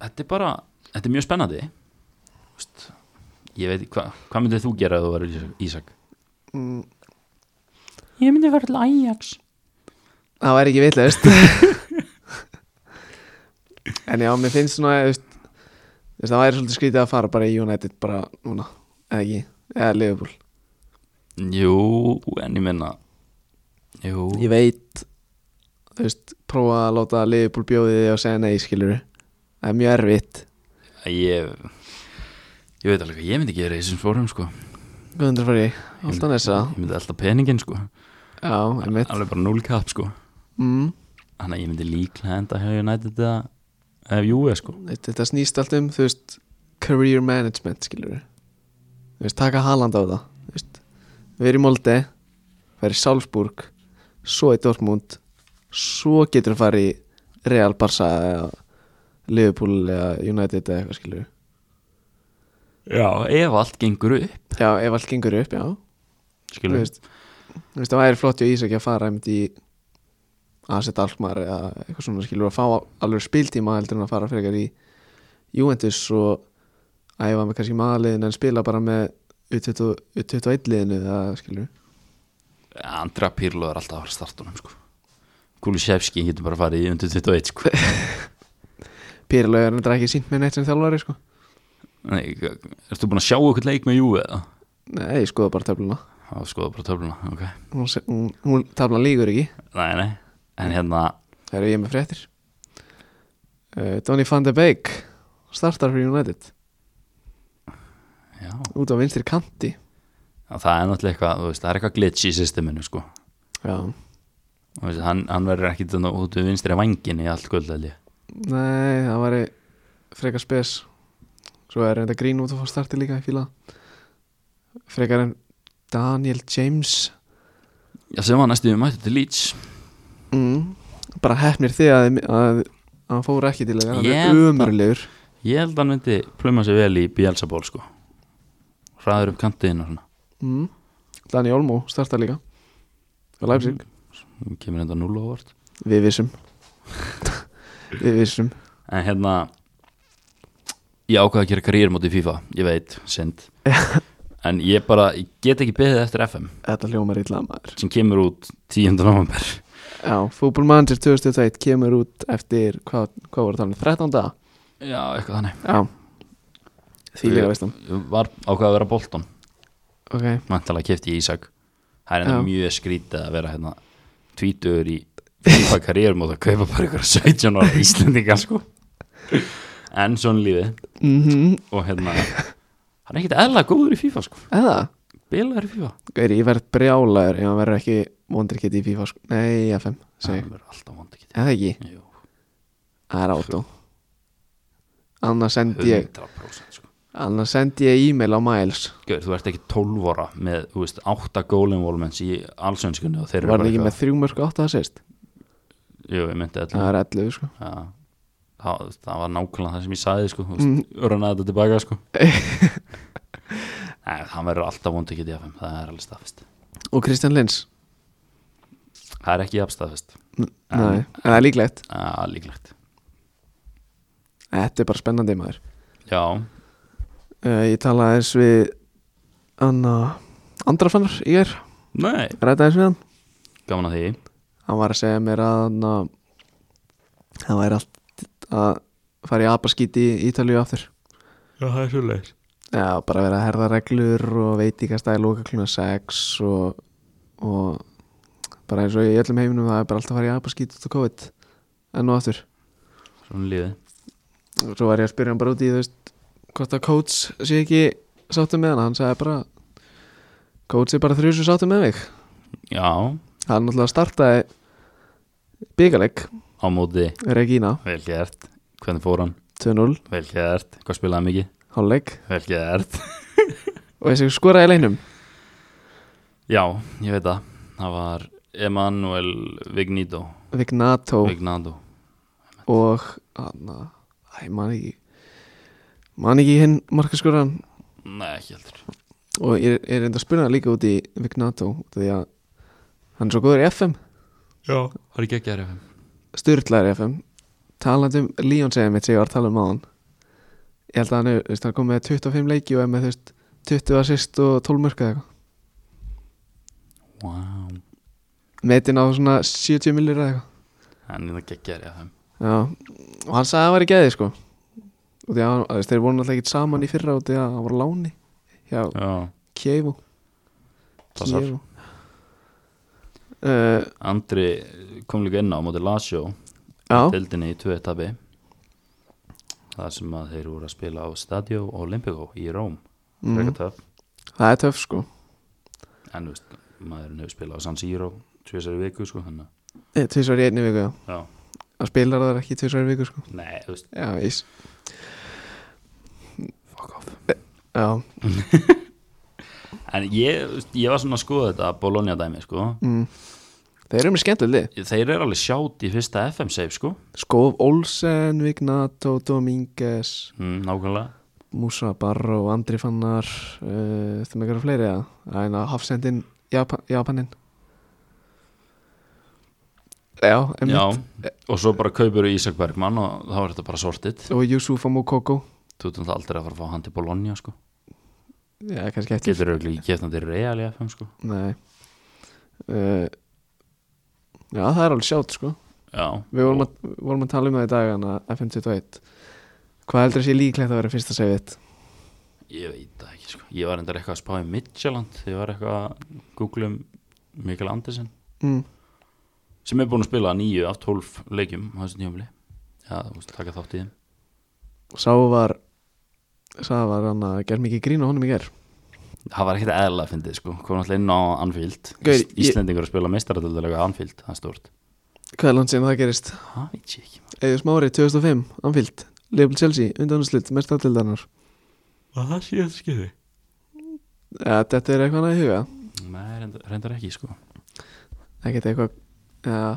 S2: þetta er bara þetta er mjög spennandi Vist, ég veit, hva, hvað myndið þú gera ef þú verður Ísak- Ísak?
S1: Mm,
S2: Ég myndi verður til Ajax
S1: Það væri ekki vitlaust En já, mér finnst svona þú veist, þú veist, Það væri svolítið skrítið að fara bara í United bara núna Eða ekki, eða Liverpool
S2: Jú, en ég minna Jú,
S1: Ég veit Þú veist, prófa að láta Liverpool bjóðið og segja nei, skilur Það er mjög erfitt
S2: ég ég veit alveg hvað ég myndi gera í þessum fórum sko
S1: Guðundur fari, alltaf næsta
S2: Ég myndi alltaf peningin sko
S1: Já, einmitt
S2: Alveg bara null kapp sko
S1: mm,
S2: Þannig að ég myndi líklega enda hjá United eða eða Juve sko
S1: Þetta snýst allt um, þú veist Career management, skilur Þú veist, taka Haaland á það Þú veist, við erum í Molde Færi Salzburg Svo í Dortmund Svo getur hann farið í Real Barca eða Liverpool eða United eða eitthvað skilur
S2: Já, ef allt gengur upp
S1: Já, ef allt gengur upp, já Þú
S2: Skilur við
S1: veist, þú veist, það væri flott í Ísaki að fara einmitt í að setja alkmar eða eitthvað svona skilur að fá alveg spiltíma heldur en að fara frekar í Juventus og æfa með kannski maðurliðin en spila bara með U20 U21 liðinu eða skilur
S2: Andra Pirlo er alltaf að fara að startunum sko Kulisevski getur bara að fara í undir 21 sko
S1: Pirlo er náttúrulega ekki sínt með neitt sem þjálfari sko
S2: Nei, ertu búin að sjá okkur leik með Juve eða?
S1: Nei, ég skoða bara töfluna
S2: Já, skoða bara töfluna, ok
S1: hún, se- hún, hún taflan líkur ekki
S2: Nei, nei, en hérna
S1: Það eru ég með fréttir uh, Donny van de Beek startar fyrir United
S2: Já,
S1: út á vinstri kanti
S2: Já, það er náttúrulega eitthvað, þú veist, það er eitthvað glitch í systeminu sko
S1: Já,
S2: Þú veist, Hann, hann verður ekki þannig út við vinstri vangin í allt guldalji
S1: Nei, það væri frekar spes Svo er reynda grín út að fá starti líka í fíla það. Frekar en Daniel James
S2: Já, sem var næstu við mættu til Leeds
S1: mm. Bara hefnir þig að, að, að hann fór ekki til þeirra Hann
S2: Ég-
S1: er umurlegur
S2: Ég held að hann myndi pluma sér vel í Bielsa-ból sko Hraður upp kantiðin og svona
S1: mm. Daniel Olmo startar líka Það læfsig
S2: Hún Mm, kemur enda núl á vort
S1: Við vissum Við vissum
S2: En hérna Ég ákvaði að gera karriér móti í FIFA Ég veit, synd En ég bara, ég get ekki beðið eftir FM
S1: Þetta hljómar illa maður
S2: sem kemur út 10. november
S1: Já, Fútbol Manager 2021 kemur út eftir, hvað, hvað voru þannig, 13 daga?
S2: Já, eitthvað þannig
S1: Já Því líka veist hann
S2: Ég var ákvaði að vera Bolton
S1: Ok,
S2: Mæntalega kefti ég Ísak Það er enda
S1: Já.
S2: mjög skrítið að vera hérna Tvítur í FIFA karriér móti að kaupa bara ykkur 17 ára Íslendinga sko En svona lífið
S1: mhm,
S2: Og hérna Hann er ekkert eðla góður í FIFA sko
S1: eða?
S2: Bilaður í FIFA
S1: Gæri, ég verð brjálaður ef hann verður ekki vondrikett í FIFA sko. Nei, í FM, segi
S2: Það er alltaf vond ekki
S1: Eða ekki,
S2: Jú,
S1: það er átó Annars sendi ég
S2: 100% sko
S1: annars sendi ég e-mail á Miles
S2: Gauður, þú ert ekki 12 ára með, þú veist, 8 goal involvements í allsönskunni og þeir eru
S1: var hann
S2: bara
S1: ekki
S2: eitthvað-
S1: með þrjú mörg átt að sérst
S2: Jú, ég myndi allir
S1: það er 11 sko
S2: Já, það, það var nákvæmlega það sem ég sagði sko, mm. örnaði þetta tilbaka sko Nei, hann verður alltaf vond ekki í DFM, það er alveg staðfest
S1: og Kristján Lins,
S2: Það er ekki jafn staðfest,
S1: nei, en það er líklegt
S2: að líklegt
S1: þetta er bara spennandi maður
S2: Já,
S1: uh, ég talaði eins við Anna Andrafannar í er
S2: nei,
S1: ræta eins við hann
S2: gaman að því
S1: hann var að segja mér að hann að það væri allt að fara í apaskíti í Ítalíu aftur
S2: Já, það er svo leir
S1: Já, bara verið að herða reglur og veitingastæði lóka kluna 6 og, og bara eins og í öllum heiminum það er bara alltaf að fara í apaskít út á COVID enn og aftur
S2: Svona lífið,
S1: og svo var ég að spyrja hann bara út í þú veist hvort að coach sé ekki sáttum með hann hann sagði bara coach er bara þrjúsu sáttum með mig
S2: já, á
S1: hann náttúrulega startaði byggaleg
S2: móti,
S1: Regina
S2: vel gert Hvernig fór hann,
S1: 2-0
S2: vel gert Hvað spilaði hann mikið,
S1: hálfleik
S2: vel gert
S1: og þessi skoraði í leinum
S2: Já, ég veit það, það var Emanuel Vignido
S1: Vignato
S2: Vignado
S1: og hann að æ, man ekki man ekki hinn markaskoran
S2: Nei, ekki heldur
S1: og ég ég er reynda að spyrja það líka út í Vignato út af því að hann er svo góður í FM
S2: Já, það er ekki ekki RFM
S1: styrlaður í FM talandi um Leon segja mitt sem ég var að tala um á hann ég held að hann, er, þú veist, hann kom með 25 leiki og er með þú veist, 20 assist og 12 mörka eitthvað
S2: Wow,
S1: metin á svona 70 millir eitthvað
S2: hann er það geggjari af þeim
S1: Já, og hann sagði að hann var í geði sko og því að hann, þú veist, þeir voru náttúrulega ekkert saman í fyrra og því að hann var á láni hjá
S2: Já,
S1: Kjevo
S2: Passar.
S1: Kjevo uh,
S2: Andri kom líka inn á móti Lasjó
S1: Já,
S2: Deldinni í tvö etabi Það sem að þeir voru að spila á Stadio Olimpico í Róm
S1: Mhm.
S2: Frekar töf
S1: það er töff sko
S2: En þú veist, maðurinn hefur spilað á San Siro Tvísari viku sko þannig að-
S1: Tvísvar Eh, í einni viku, já
S2: Já,
S1: Það spilar það ekki tvísvar í viku sko
S2: nei, þú veist,
S1: Já, ís
S2: fuck off
S1: Eh, Já,
S2: En ég, þú veist, ég var svona að skoða þetta Bologna dæmi sko
S1: mm. þeir eru með skemmtileg lið
S2: Þeir eru alveg sjátt í fyrsta FM-seif sko
S1: Skov Olsen, Vignato, Dominguez
S2: mm, Nákvæmlega
S1: Musa Barro, Andri Fannar uh, þeim eitthvað fleiri eða Það er að hafsendin Japan, Japanin Já,
S2: Já,
S1: emmitt
S2: og svo bara kaupur Ísak Bergmann og þá er þetta bara sortið
S1: og Yusufa Mokoko
S2: Þú ert náttúrulega aldrei að fara að fá hann til Bologna sko
S1: Já, kannski eftir
S2: Getur auðvitað ekki gett hann til Real í FM sko
S1: Nei uh, Já, það er alveg sjátt sko
S2: Já,
S1: Við vorum að, vorum að tala um það í dag hana FM21 Hvað heldur þessi líklegt að vera fyrsta segið
S2: ég veit það ekki sko Ég var endar eitthvað að spá í Midtjaland Ég var eitthvað að googla um Mikael Andersen
S1: mm.
S2: sem er búin að spila nýju af 12 leikjum á þessu nýjumli Já, þú veist, taka þátt í þeim
S1: Sá var Sá var hann að gera mikið grín á honum í ger
S2: Það var ekkert eðla að fyndið sko Komum alltaf inn á Anfield
S1: Gaur,
S2: Gaur,
S1: ég-
S2: Íslendingur að spila meistaratöldurlega Anfield, það er stort
S1: Hvað er langt síðan það gerist?
S2: Það veit ég ekki
S1: Eða smári 2005, Anfield Leifel Chelsea, undanúslitt, mest aðtildarnar
S2: Var það síðan skipið?
S1: ja, Eh, Þetta er eitthvað annað í huga
S2: Nei, reyndar, reyndar ekki sko
S1: Ekkert eitthvað ja,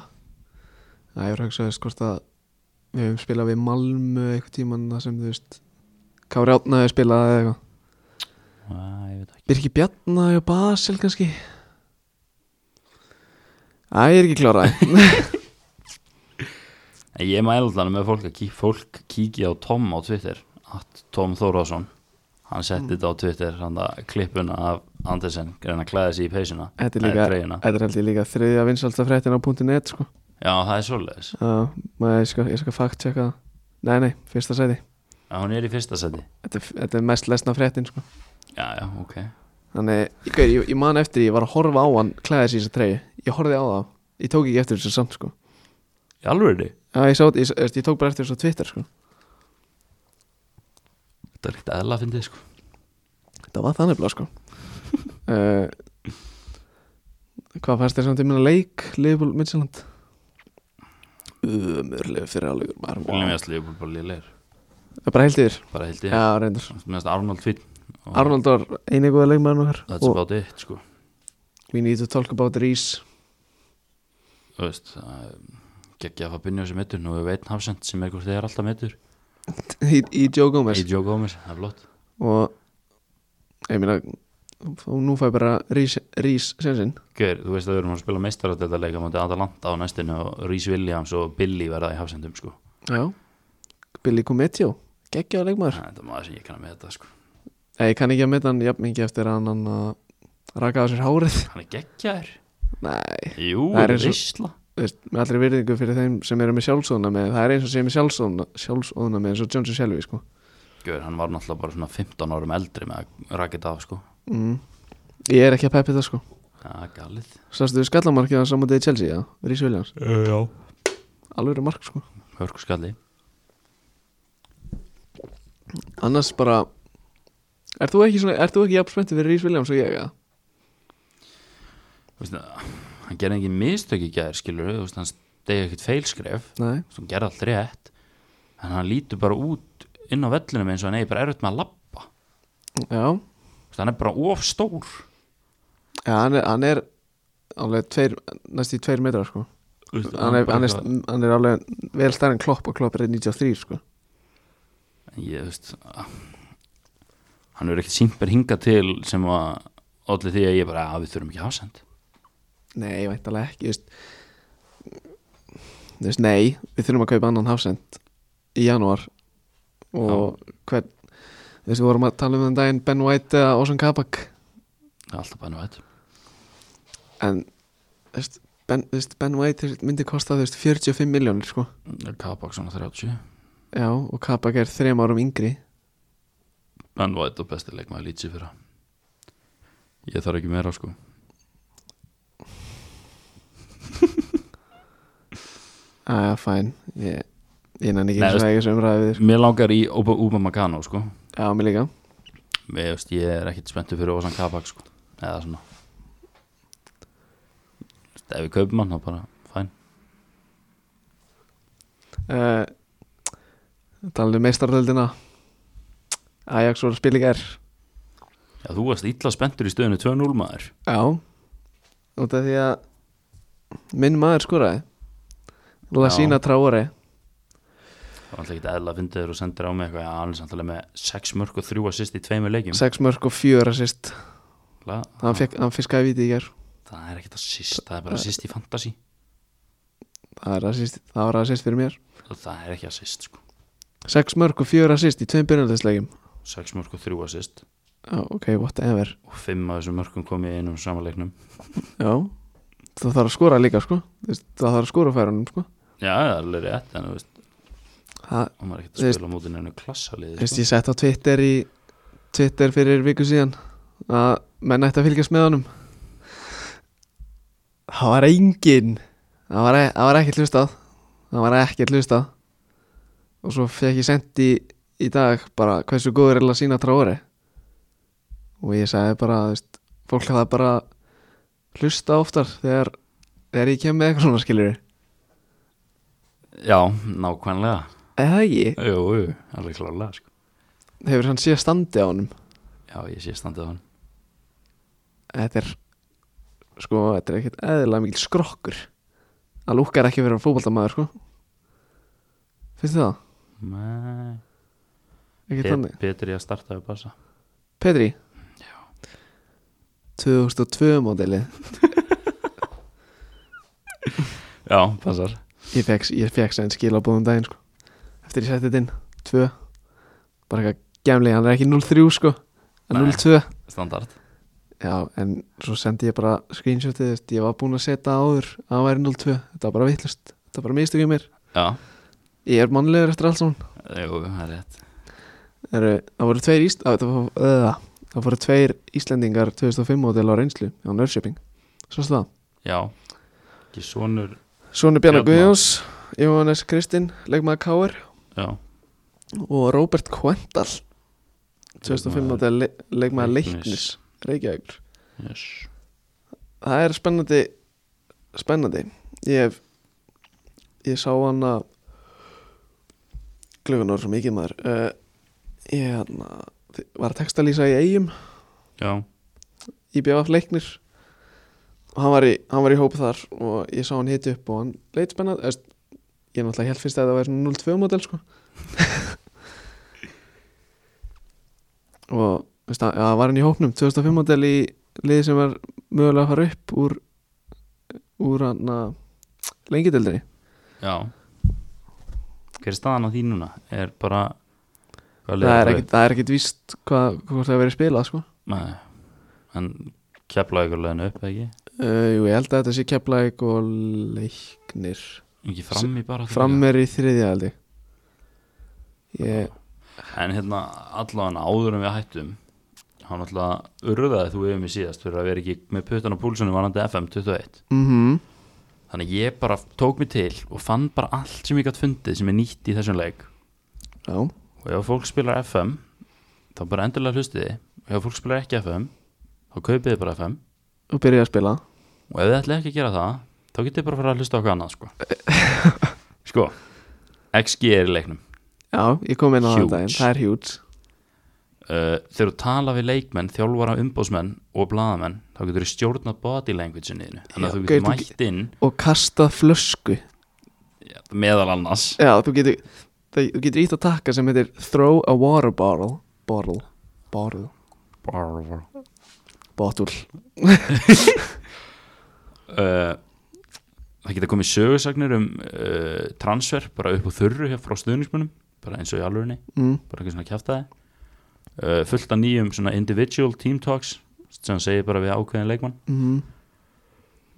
S1: að Ég var að hugsa þess hvort að Við höfum spilað við Malmö eitthvað tíman Það sem þú veist Kári Átnaði spilað eða eitthvað
S2: Nei, ég veit það ekki
S1: Birki Bjarnaði og Basel kannski Æ, ég er ekki kláraði
S2: En ég mæla alltaf með fólk að kík, fólk kíkja á Tom á Twitter að Tom Þórásson hann setti þetta á Twitter hann að klippuna af Andersen reyna að klæða sig í peysuna
S1: Þetta er
S2: Nei,
S1: líka,
S2: treyjuna.
S1: þetta er held ég líka þriðja vinsaltafréttin á .net sko
S2: Já, það er svoleiðis
S1: Já, maður, ég skal, ég skal fakt checka það Nei, nei, fyrsta sæti
S2: Já, hún er í fyrsta seti
S1: Þetta er, þetta er mest lesna fréttin sko
S2: Já, já, ok
S1: Þannig, ég, gaur, ég, ég man eftir því, ég var að horfa á hann klæða sér í þessa treyju, ég horfði á það ég tók ekki eftir þessu samt sko
S2: Í alveg
S1: Já, ég, sá, ég, ég, ég tók bara eftir þessu á Twitter sko
S2: Þetta er eitt eðla að fyndið sko
S1: þetta var þannig blá sko uh, Hvað fannst þér samt í minna leik Liverpool Midtjylland Umurlega fyrir álegur maður
S2: Viljum ég að sliða búið bara lélegir
S1: bara heilt yfir
S2: bara held ég,
S1: Já, reyndur
S2: mér finnst Arnold finn og
S1: Arnold var eini góða leikmann okkar
S2: that's
S1: og
S2: about it sko
S1: we need to talk about Reece
S2: þú veist geggja að fá Binjó sem mittur, nú hefur við einn hafsend sem er hvort þið er alltaf mittur
S1: í, í Joe Gomez
S2: í Joe Gómez, það er flott
S1: og ég meina og nú fæ ég bara Reece, Reece sensinn
S2: Hver, þú veist að við erum að spila meistarat þetta leika mútið Atalanta á næstinu og Rhys Williams og Billy verða í hafsendum sko
S1: Já Billy Cometio, geggjaða leikmaður
S2: það er maður sem ég kann að með þetta sko
S1: Nei, ég kann ekki að metta hann jafn mikið eftir að hann að raka á sér hárið
S2: hann er geggjaður,
S1: Nei,
S2: jú,
S1: Það er eins og-
S2: risla
S1: þú veist, með allri virðingu fyrir þeim sem eru með sjálfsóðuna með það er eins og sé með sjálfsóðuna, sjálfsóðuna með eins og Johnson Shelby sko.
S2: Gjör, hann var náttúrulega bara svona 15 árum eldri með að rakið af sko
S1: mm. Ég er ekki að peppi það sko
S2: það er galið
S1: Sástu skallamarkið hann saman degi Chelsea, já, Rís Williams
S2: já.
S1: Alveg eru mark sko
S2: hörku skalli
S1: Annars bara Er þú ekki, svona, er þú ekki jafn spenntið fyrir Rís Williams og ég, já?
S2: Þú veist, hann gerði engin mistök í gæðir skilur við, hann stegi ekkert feilskref
S1: Nei,
S2: Þú veist, hann gerði allt rétt en hann lítur bara út inn á vellinum eins og hann eigi bara erfitt með að lappa
S1: já
S2: hann er bara of stór
S1: Já, hann er, hann er alveg tveir, næst í tveir metrar sko
S2: Þú veist,
S1: Hann er,
S2: bara
S1: hann er,
S2: eitthvað-
S1: hann er alveg vel stærri en klopp og klopp er 93 sko
S2: ég þú veist að- hann er ekkert sínt bara hingað til sem að allir því að ég bara að við þurfum ekki hafsend
S1: Nei, væntalega ekki, þú veist Þú veist, nei, við þurfum að kaupa annan hafsend í janúar og hvern þú veist, við vorum að tala um þann daginn Ben White eða Ozan Kabak
S2: það er alltaf bara nú þetta
S1: en, þú veist, Ben, þú veist, ben White þú veist, myndi kosta, þú veist, 45 miljónir sko.
S2: Kabak svona 30
S1: já, og Kabak er þrem árum yngri
S2: en var þetta besti leikmaði lítið fyrir hann. ég þarf ekki meira sko
S1: aðja, fæn, ég ég nenni
S2: Nei,
S1: ekki
S2: þú
S1: svona ekki sem ræðið
S2: mér langar í Uba Makano sko
S1: já, mér líka,
S2: ég, veist, ég er ekkert spenntur fyrir Ozan Kabak sko. eða svona Þú veist, ef við kaupum hann þá bara fæn
S1: uh, talaðu meistaröldina Ajax voru að spila í gær
S2: já, þú varst illa spenntur í stöðinu 2-0 maður
S1: Já Út af því að Minn maður skoraði Lasína Tráari
S2: það var alltaf ekkert eðla að fyndi þér og sendir á mig eitthvað já, hann er samtalið með 6 mörg og 3 assist í tveimur leikjum
S1: Sex mörg og fjör assist
S2: La,
S1: Hann, fekk, hann fiskaði viti í gær
S2: það er ekkert assist, það er bara assist í fantasy
S1: Það, er assist, það var assist fyrir mér
S2: það er ekki assist sko.
S1: Sex mörg og fjör assist í tveim byrjandislegjum
S2: 6 mörg og 3 assist
S1: Já, ok, whatever
S2: og 5 af þessum mörgum kom ég einum samanleiknum
S1: Já Það þarf að skora líka sko Þú veist, Það þarf að skora færunum sko
S2: já, það er alveg rétt en þú veist,
S1: Það,
S2: og maður er ekkert
S1: Þú
S2: að
S1: veist-
S2: spila á mótin einu klassalið
S1: þú veist, ég sett á Twitter í Twitter fyrir viku síðan að menn ætti að fylgjast með honum Það var engin Það var, e, það var ekkert hlustað Það var ekkert hlustað og svo fekk ég sendi í, í dag bara hversu góður er að sína trári og ég sagði bara þú veist, fólk það bara hlusta oftar þegar, þegar ég kem með eitthvað svona skilur
S2: já, nákvæmlega
S1: eða ekki,
S2: Jú, jú, alveg klálega sko.
S1: hefur hann síðan standi á honum
S2: Já, ég sé standið á hann
S1: þetta er sko, þetta er ekkert eðlilega mikil skrokkur að Lúka er ekki verið að fótballtamaður sko finnst þið það?
S2: Nei,
S1: ekki
S2: bet,
S1: þannig?
S2: Betur ég að starta við passa
S1: Petri? já 2002 módeli
S2: Já, passar
S1: ég fekk, ég fekk sem skilabóðum daginn sko eftir ég setti þetta inn 2 bara eitthvað gemli, hann er ekki 03 sko en
S2: Nei.
S1: 02
S2: Standard
S1: já, en svo sendi ég bara screenshotið, þú veist, ég var búinn að setja áður að hann væri 02, þetta var bara vittlust þetta var bara mistökjum mér,
S2: Já,
S1: ég er mannlegur eftir allt saman
S2: jú, það er rétt
S1: Heru, það voru tveir Ísl... að, það, voru, uh, það voru tveir Íslendingar 2005 mótil á reynslu á Nörðsjöping Svo slá
S2: Já, ekki sonur
S1: Svonu Bjarnar
S2: Bjarna.
S1: Guðjóns, Jóhannes Kristinn leikmaður Káir
S2: Já,
S1: og Robert Quental 2005
S2: Leikmaður-
S1: mótil le leikmaður
S2: Leiknis.
S1: Leiknis Reykjavíkur
S2: yes
S1: Það er spennandi spennandi Ég hef ég sá hann að glögun orð svo mikið maður uh, ég hérna, var að textalýsa í eigum
S2: já,
S1: í BFF leiknir og hann var, í, hann var í hóp þar og ég sá hann hiti upp og hann leit spennað Eðst, ég náttúrulega held fyrst að það væri svona 0-2 model sko og veist, að, að var hann í hópnum 2005 model í liði sem var mögulega að fara upp úr úr hann að lengjadeildinni
S2: já hver er staðan á því núna? er bara hvað
S1: það
S2: leiðir
S1: er
S2: þú
S1: ekkit, það er ekkit víst hvað, hvort það verið spilað sko
S2: Nei, en keflaði ykkur leiðinu upp, eða ekki?
S1: uh, jú, ég held að þetta sé keflaðik og leiknir
S2: Ekki fram í bara
S1: fram er í þriðja held ég ég
S2: En hérna, allan áður en við hættum hann alltaf urðaði þú yfir mig síðast fyrir að vera ekki með puttan á púlsunum varandi FM 21
S1: mhm
S2: Þannig ég bara tók mig til og fann bara allt sem ég gætt fundið sem er nýtt í þessum leik
S1: já,
S2: og ef fólk spilar FM þá bara endurlega hlustiði og ef fólk spilar ekki FM þá kaupið þið bara FM
S1: og byrja að spila
S2: og ef þið ætla ekki að gera það þá getið þið bara að fara að hlusta á okkur annað sko. sko XG er í leiknum
S1: já, ég kom inn á
S2: Huge.
S1: það daginn, það er huge
S2: uh, þegar þú tala við leikmenn, þjálfara umbóðsmenn og blaðamenn, þá getur þú stjórna body language niður, þannig að
S1: Já,
S2: þú getur
S1: gauti-
S2: mætt inn
S1: og kasta flösku
S2: já, meðal annars
S1: já, þú getur, það, þú getur ítt að taka sem heitir throw a water bottle bottle, bottle,
S2: uh,
S1: bottle
S2: Uh, það getur komið sögursagnir um uh, transfer, bara upp á þurru hér frá stuðnismunum, bara eins og í alvörinni
S1: mm.
S2: bara eitthvað svona kjaftaði uh, fullt af nýjum svona individual team talks sem segir bara við ákveðin leikmann
S1: Mm.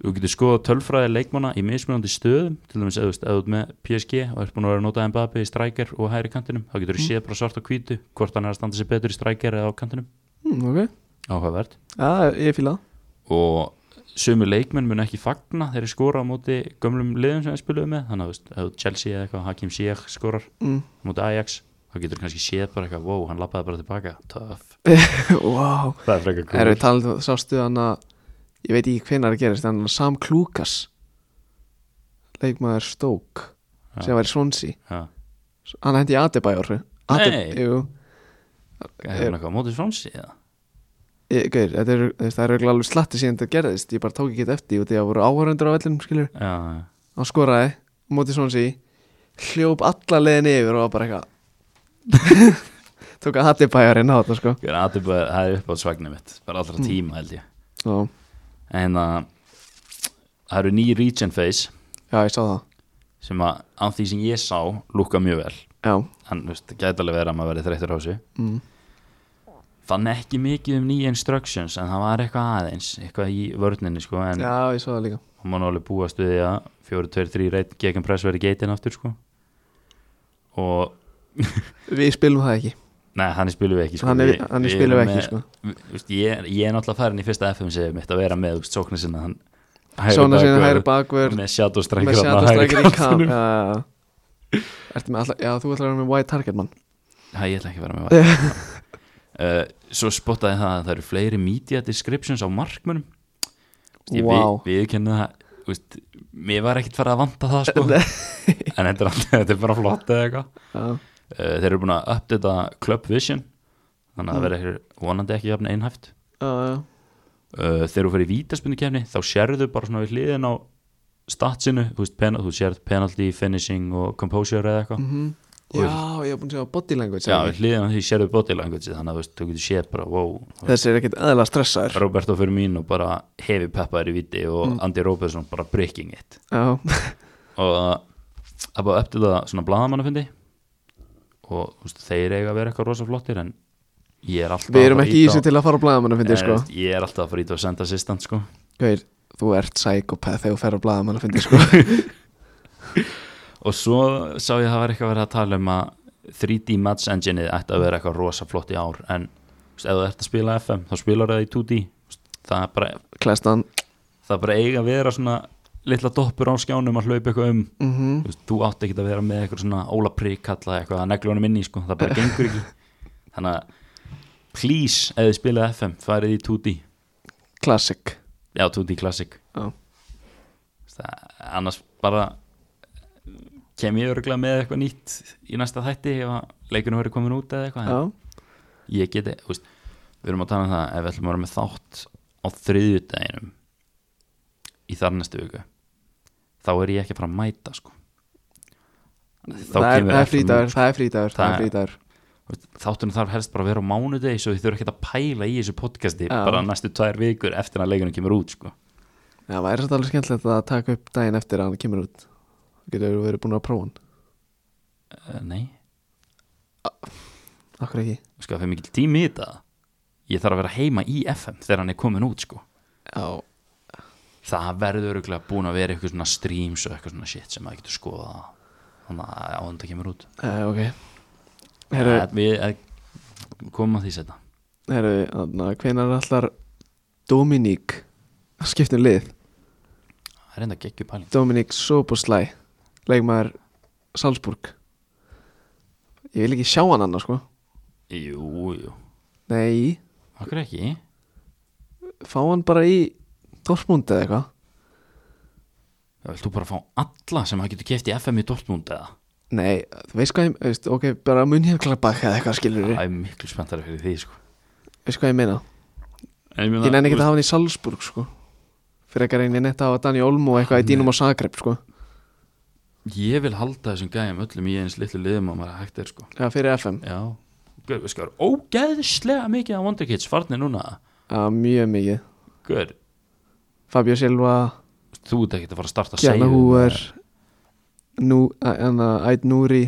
S2: þú getur skoða tölfræði leikmanna í mismunandi stöðum til dæmis eða þú veist, ef þú ert með PSG og ert búin að vera að nota Mbappe í strækjar og hægri kantinum þá getur þú séð bara svart á hvítu hvort hann er að standa sér betur í strækjar eða á kantinum
S1: Mm, ok,
S2: áhugavert
S1: já, ég fíla það
S2: og sömu leikmenn mun ekki fagna þegar þeir skora á móti gömlum liðum sem þeir spiluðu með þannig að þú veist, ef þú Chelsea eða eitthvað Hakim Ziyech skorar
S1: mm.
S2: á móti Ajax þá getur þú kannski séð bara eitthvað, wow, hann lappaði bara tilbaka töff,
S1: wow,
S2: það er frekar
S1: erum við talað um- sástu hann að ég veit ekki hvenær það gerist, en Sam Klúkas leikmaður Stoke
S2: Já.
S1: sem var í Swansea
S2: ja.
S1: hann hendi í Adebayor
S2: Nei.
S1: jú,
S2: hefur hann eitthvað á móti frámsi eða
S1: Ég- Gaur, þetta er, það er örugglega alveg slatti síðan þetta gerðist Ég bara tók ekki eftir því út í að voru áhörundur á vellinum skilur
S2: já, já.
S1: Hann skoraði, á móti svona sí Hljóp alla leiðin yfir og var bara eitthvað Tók að hatti bæjarinn á þetta sko
S2: Ég er aðeins- það er upp á svagnum mitt bara allra tíma held ég
S1: Já,
S2: en að það eru ný region face
S1: já ég sá það
S2: sem að af því sem ég sá lúka mjög vel
S1: Já,
S2: hann þú veist, það gæti alveg verið að maður verið þreyttur á þessu
S1: mm.
S2: fann ekki mikið um ný instructions en það var eitthvað aðeins eitthvað í vörninni sko en
S1: já ég sá það líka
S2: hún má nú alveg búast við því að 4-2-3 reynd gegn press verið geitin aftur sko og
S1: Við spilum það ekki
S2: Nei, hann spilum við ekki sko.
S1: Hann er-
S2: Við-
S1: hann er
S2: við
S1: spilum við
S2: erum
S1: ekki,
S2: með-
S1: sko.
S2: við- þú veist, ég, er- ég er náttúrulega farin í fyrsta FM sem mitt að vera með sókna sinna hann
S1: Svona sinni hægri
S2: bakvörð,
S1: bakvörð
S2: með shadow striker
S1: Með
S2: þarna á
S1: sjata
S2: hægri
S1: strækir í kam
S2: kantinum.
S1: Já, já, já Ertu með alltaf, já þú ætlar að vera með white target mann
S2: Hæ, ég ætla ekki að vera með væri uh, Svo spottaði það að það eru fleiri media descriptions á markmönum Ég
S1: Vá.
S2: við, við kennum það þú veist, Mér var ekkert farið að vanta það sko. En þetta er, allt- þetta er bara flott eða eitthvað
S1: Já,
S2: uh, Þeir eru búin að uppdata Club Vision Þannig að það verður ekki- vonandi ekki jafn einhæft
S1: já, já
S2: uh, þegar þú fyrir vítaspunni kefni þá sérðu bara svona við hliðin á statsinu, þú veist, penal, þú sérð penalty, finishing og composure eða eitthvað
S1: Mhm. Já, ég hef búin að segja body language
S2: já,
S1: eða
S2: við hliðin á því sérðu body language þannig að þú veist, þú getur séð bara, wow
S1: Þessi er ekkit aðeins stressaður
S2: Roberto Firmino bara hefi peppaður í viti og
S1: Mm.
S2: Andy Robertson bara breaking it
S1: Já,
S2: og það- það er bara upp til það svona bladamannafundi og þú veist, þeir eiga að vera eitthvað rosa flottir en ég er alltaf
S1: við erum
S2: að fara
S1: ekki í
S2: ýta
S1: þessu
S2: á-
S1: til að fara á blaðamann
S2: Nei,
S1: fyndi, sko
S2: þú veist, ég er alltaf að fara ít og senda assistant sko
S1: Gauir, þú ert psykopath þegar þú fer á blaðamann fyndi, sko
S2: og svo sá ég að það var eitthvað verið að tala um að 3D match engineið ætti að vera eitthvað rosa flott í ár en þú veist, ef þú ert að spila FM þá spilar það í 2D Þú veist, það er bara,
S1: Klæstan
S2: það er bara eiga að vera svona litla doppur á skjánum að hlaupa eitthvað um
S1: mm -hmm.
S2: þú, veist, þú átti ekki að vera með eitthvað svona óla prikalla eitthvað að neglu honum inn í sko, það bara gengur ekki þannig að please ef þið spilað FM farið í 2D
S1: Classic
S2: já 2D Classic
S1: Já.
S2: það, annars bara eh, kem ég örgulega með eitthvað nýtt í næsta þætti ef að leikunum verið komin út eða eitthvað en
S1: já,
S2: ég geti, þú veist, við erum að tala um það ef við ætlum að vera með þátt á þriðjudeginum í þar næstu viku þá er ég ekki að fara að mæta sko. þá
S1: það er,
S2: kemur
S1: það er
S2: FM
S1: frítagur það er frítagur, það er
S2: Það er-
S1: frítagur
S2: Þú veist, þáttunum þarf helst bara að vera á mánudegi svo þið þurfa ekki að pæla í þessu podcasti
S1: Já.
S2: bara næstu tvær vikur eftir að leikunum kemur út sko.
S1: já, það er satt alveg skemmtilegt að taka upp daginn eftir að hann kemur út Þú getur verið búin að prófa hann,
S2: uh, nei,
S1: okkur ekki
S2: sko, það er mikil tími í þetta ég þarf að vera heima í FM þegar hann er komin út sko.
S1: já,
S2: það verður örgulega búin að vera eitthvað svona streams og eitthvað svona shit sem maður getur skoða þannig að á þetta kemur út
S1: uh, ok herru,
S2: Heru, við eh, komum að því setna
S1: Herru, hérna, þannig að hvenar allar Dominík að skipta um lið
S2: það er enda geggjur pæling
S1: Dominík Soboslæ leikmaður Salzburg Ég vil ekki sjá hann annars sko
S2: jú, jú,
S1: Nei,
S2: okkur ekki
S1: fá hann bara í Dortmund eða eitthvað
S2: það vilt þú bara fá alla sem það getur keft í FM í Dortmund eða
S1: Nei, þú veist hvað ég, veist, ok, bara mun hér klappa eða eitthvað skilur
S2: það er miklu spenntari fyrir því sko.
S1: Veist hvað ég meina?
S2: En meina,
S1: Ég nenni
S2: þú
S1: ekki að hafa hann í Salzburg sko Fyrir ekki að reyna netta á að Dani Olmo eitthvað í Dínum og Zagreb sko
S2: veist, ég vil halda þessum gæjum öllum í eins litlu liðum og maður hægt er sko
S1: Já, fyrir FM,
S2: já Guð, við skar ógeðslega mikið að Wonder Kids farnir núna
S1: já, mjög mikið
S2: Guð,
S1: Fabio Silva,
S2: þú ert ekki að fara að um starta
S1: Gjana
S2: Seiyu
S1: Húver Nú, eh, hérna, enna, Æd Núri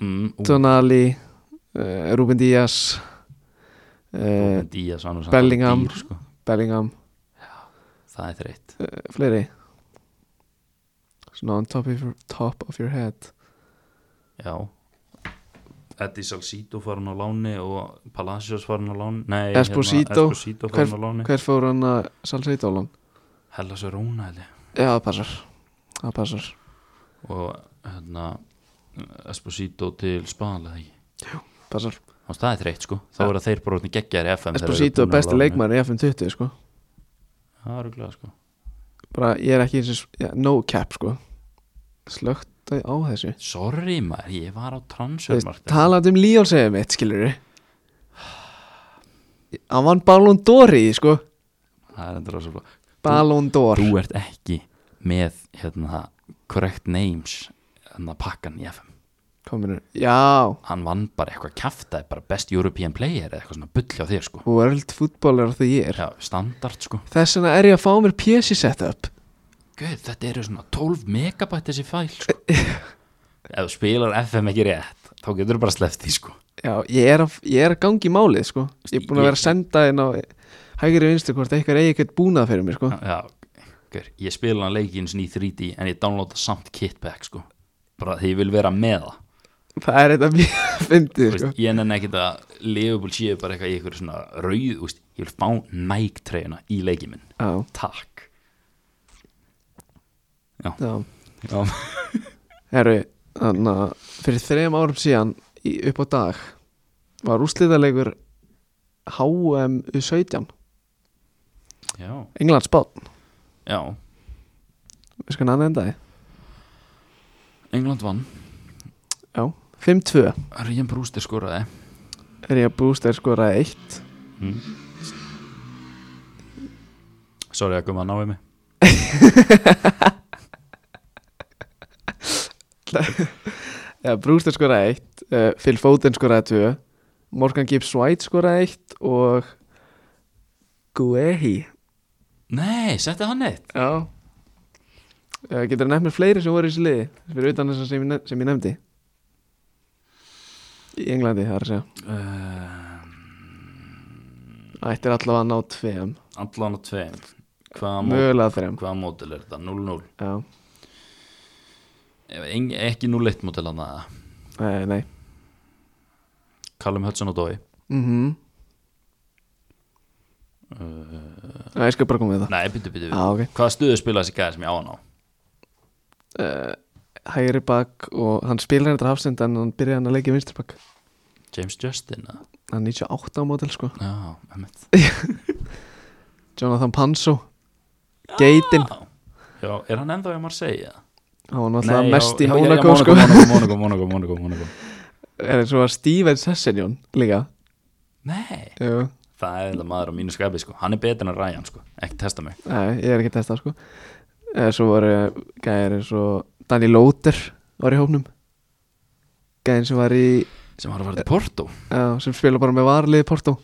S2: mm, ú,
S1: Tonali uh, Ruben Díaz uh,
S2: Díaz, var nú samt
S1: Bellingham.
S2: dýr, sko.
S1: Bellingham,
S2: það er þreitt
S1: uh, fleiri Svona on top of, your, top of your head
S2: Já Eddie Salcido farin á láni og Palacios farin á láni Nei, hérna,
S1: Esposito.
S2: Esposito
S1: Hver-
S2: farin á láni
S1: Hver fór hann að Salseit Ólan?
S2: Hellas og Róna held ég.
S1: Já, það passar Það passar
S2: og hérna Esposito til Spal eða ekki
S1: Passar.
S2: Þannig það er þreytt sko, þá
S1: Ja.
S2: eru þeir bara brotni geggjar í FM þegar þeir eru
S1: Esposito er
S2: búnir á
S1: besti
S2: láni.
S1: leikmæri í FM20 sko.
S2: Það eru glæð sko
S1: bara ég er ekki eins og ja, no cap sko. slögt á þessu
S2: Sorry maður, ég var á
S1: Veist,
S2: transfermarkt
S1: talandi um Líón segja mitt skilur hann vann Ballon d'Or í því, sko
S2: Það er endur rosa flott
S1: Ballon d'Or
S2: Þú ert ekki með hérna correct names hérna pakkan í FM
S1: Kominu. Já,
S2: Hann vann bara eitthvað kjaftaði bara best European player eða eitthvað svona bull hjá þér sko
S1: World Footballer of the Year
S2: Já, standard sko
S1: Þess vegna er ég að fá mér PC setup
S2: Guð, þetta eru svona 12 megabæt þessi fæl sko Ef þú spilar FM ekki rétt þá getur þú bara sleppt því sko
S1: Já, ég er að, ég er að gangi í málið sko Ég er búin að
S2: Ég-
S1: vera að senda inn á hægri vinstu hvort eitthvað eigi eitthvað búnað fyrir mér sko
S2: Já, guð, ég spila hann leikinn sinni í 3D en ég downloada samt kitback sko bara því ég vil vera með það
S1: Það er eitthvað mjög fyndið
S2: Þú
S1: sko
S2: veist, Ég nenni ekkit að Liverpool séu bara eitthvað í eitthvað svona rauð þú veist, Ég vil fá Nike treyjuna í leikinn minn
S1: Já,
S2: Takk
S1: já
S2: Já,
S1: Herru, þannig að fyrir þrejum árum síðan í, upp á dag var úrslitaleikur HM U17
S2: já,
S1: England spátt,
S2: já.
S1: við sko hann endaði
S2: England vann
S1: Já, 5-2
S2: Ríðan Brúster skoraði
S1: er ég að búst er skoraði 1
S2: Sorry að koma að náði mig
S1: Já, Brewster skoraði eitt, uh, Phil Foden skoraði tvö, Morgan Gibbs White skoraði eitt og Guehi.
S2: Nei, setti hann eitt
S1: Já. Uh, getur það nefnt mér fleiri sem voru í þessu liði, fyrir utan þess sem, ég nef- sem ég nefndi? Í Englandi, það er að segja.
S2: uh,
S1: Ættir allavega að ná tveim,
S2: Allan á tveim Hvaða mót,
S1: mögulega þreim.
S2: hvaða mótil er þetta? 0-0
S1: Já,
S2: Ef eng- Ekki 0-1 mótil hann aða
S1: nei, nei.
S2: Callum Hudson og Dói
S1: Mm Nei, ég skal bara koma við það.
S2: Nei, byttu, byttu,
S1: Já,
S2: byttu
S1: ok.
S2: Hvaða stuðu spila þessi gæði sem ég á hann á?
S1: Hægri bak og hann spilar þetta hafsend en hann byrjaði hann að leikja vinstri bak.
S2: James Justin eða?
S1: Hann er 98 á mótel, sko.
S2: Já, emmitt
S1: Jonathan Panso Geitin
S2: Já, er hann ennþá í Marseille? eða?
S1: hann var náttúrulega mest í
S2: já, já, já,
S1: Mónakó sko
S2: Mónakó, Mónakó, Mónakó, Mónakó, Mónakó
S1: er eins og var Steven Sessenjón líka
S2: Nei,
S1: Jú,
S2: það er enda maður á mínu skapi sko Hann er betur en Ryan sko, ekki testa mig
S1: nei, ég er ekki testað sko Eh, svo var gæðir eins og Danny Lóter var í hópnum gæðin sem var í
S2: Sem var að fara til Porto
S1: já, sem spila bara með varlið Porto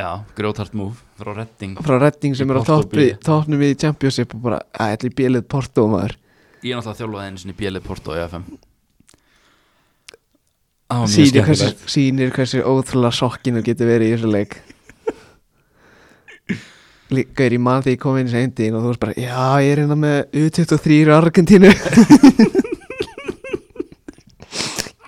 S2: Já, grjóthart move frá Redding
S1: frá Redding sem
S2: Í
S1: er á
S2: Porto
S1: toppi-
S2: B.
S1: toppnum í Championship og bara, að ætli bílið Porto maður
S2: Ég er náttúrulega þjálfaði einu sinni bjelið Porto í FM Það var mjög
S1: sýnir hversu,
S2: skemmtilegt
S1: sýnir hversu óþrúlega sokkinu getur verið í þessu leik líka er í mann þegar ég kom inn í sendin og þú veist bara, já ég er hérna með U23 í Argentínu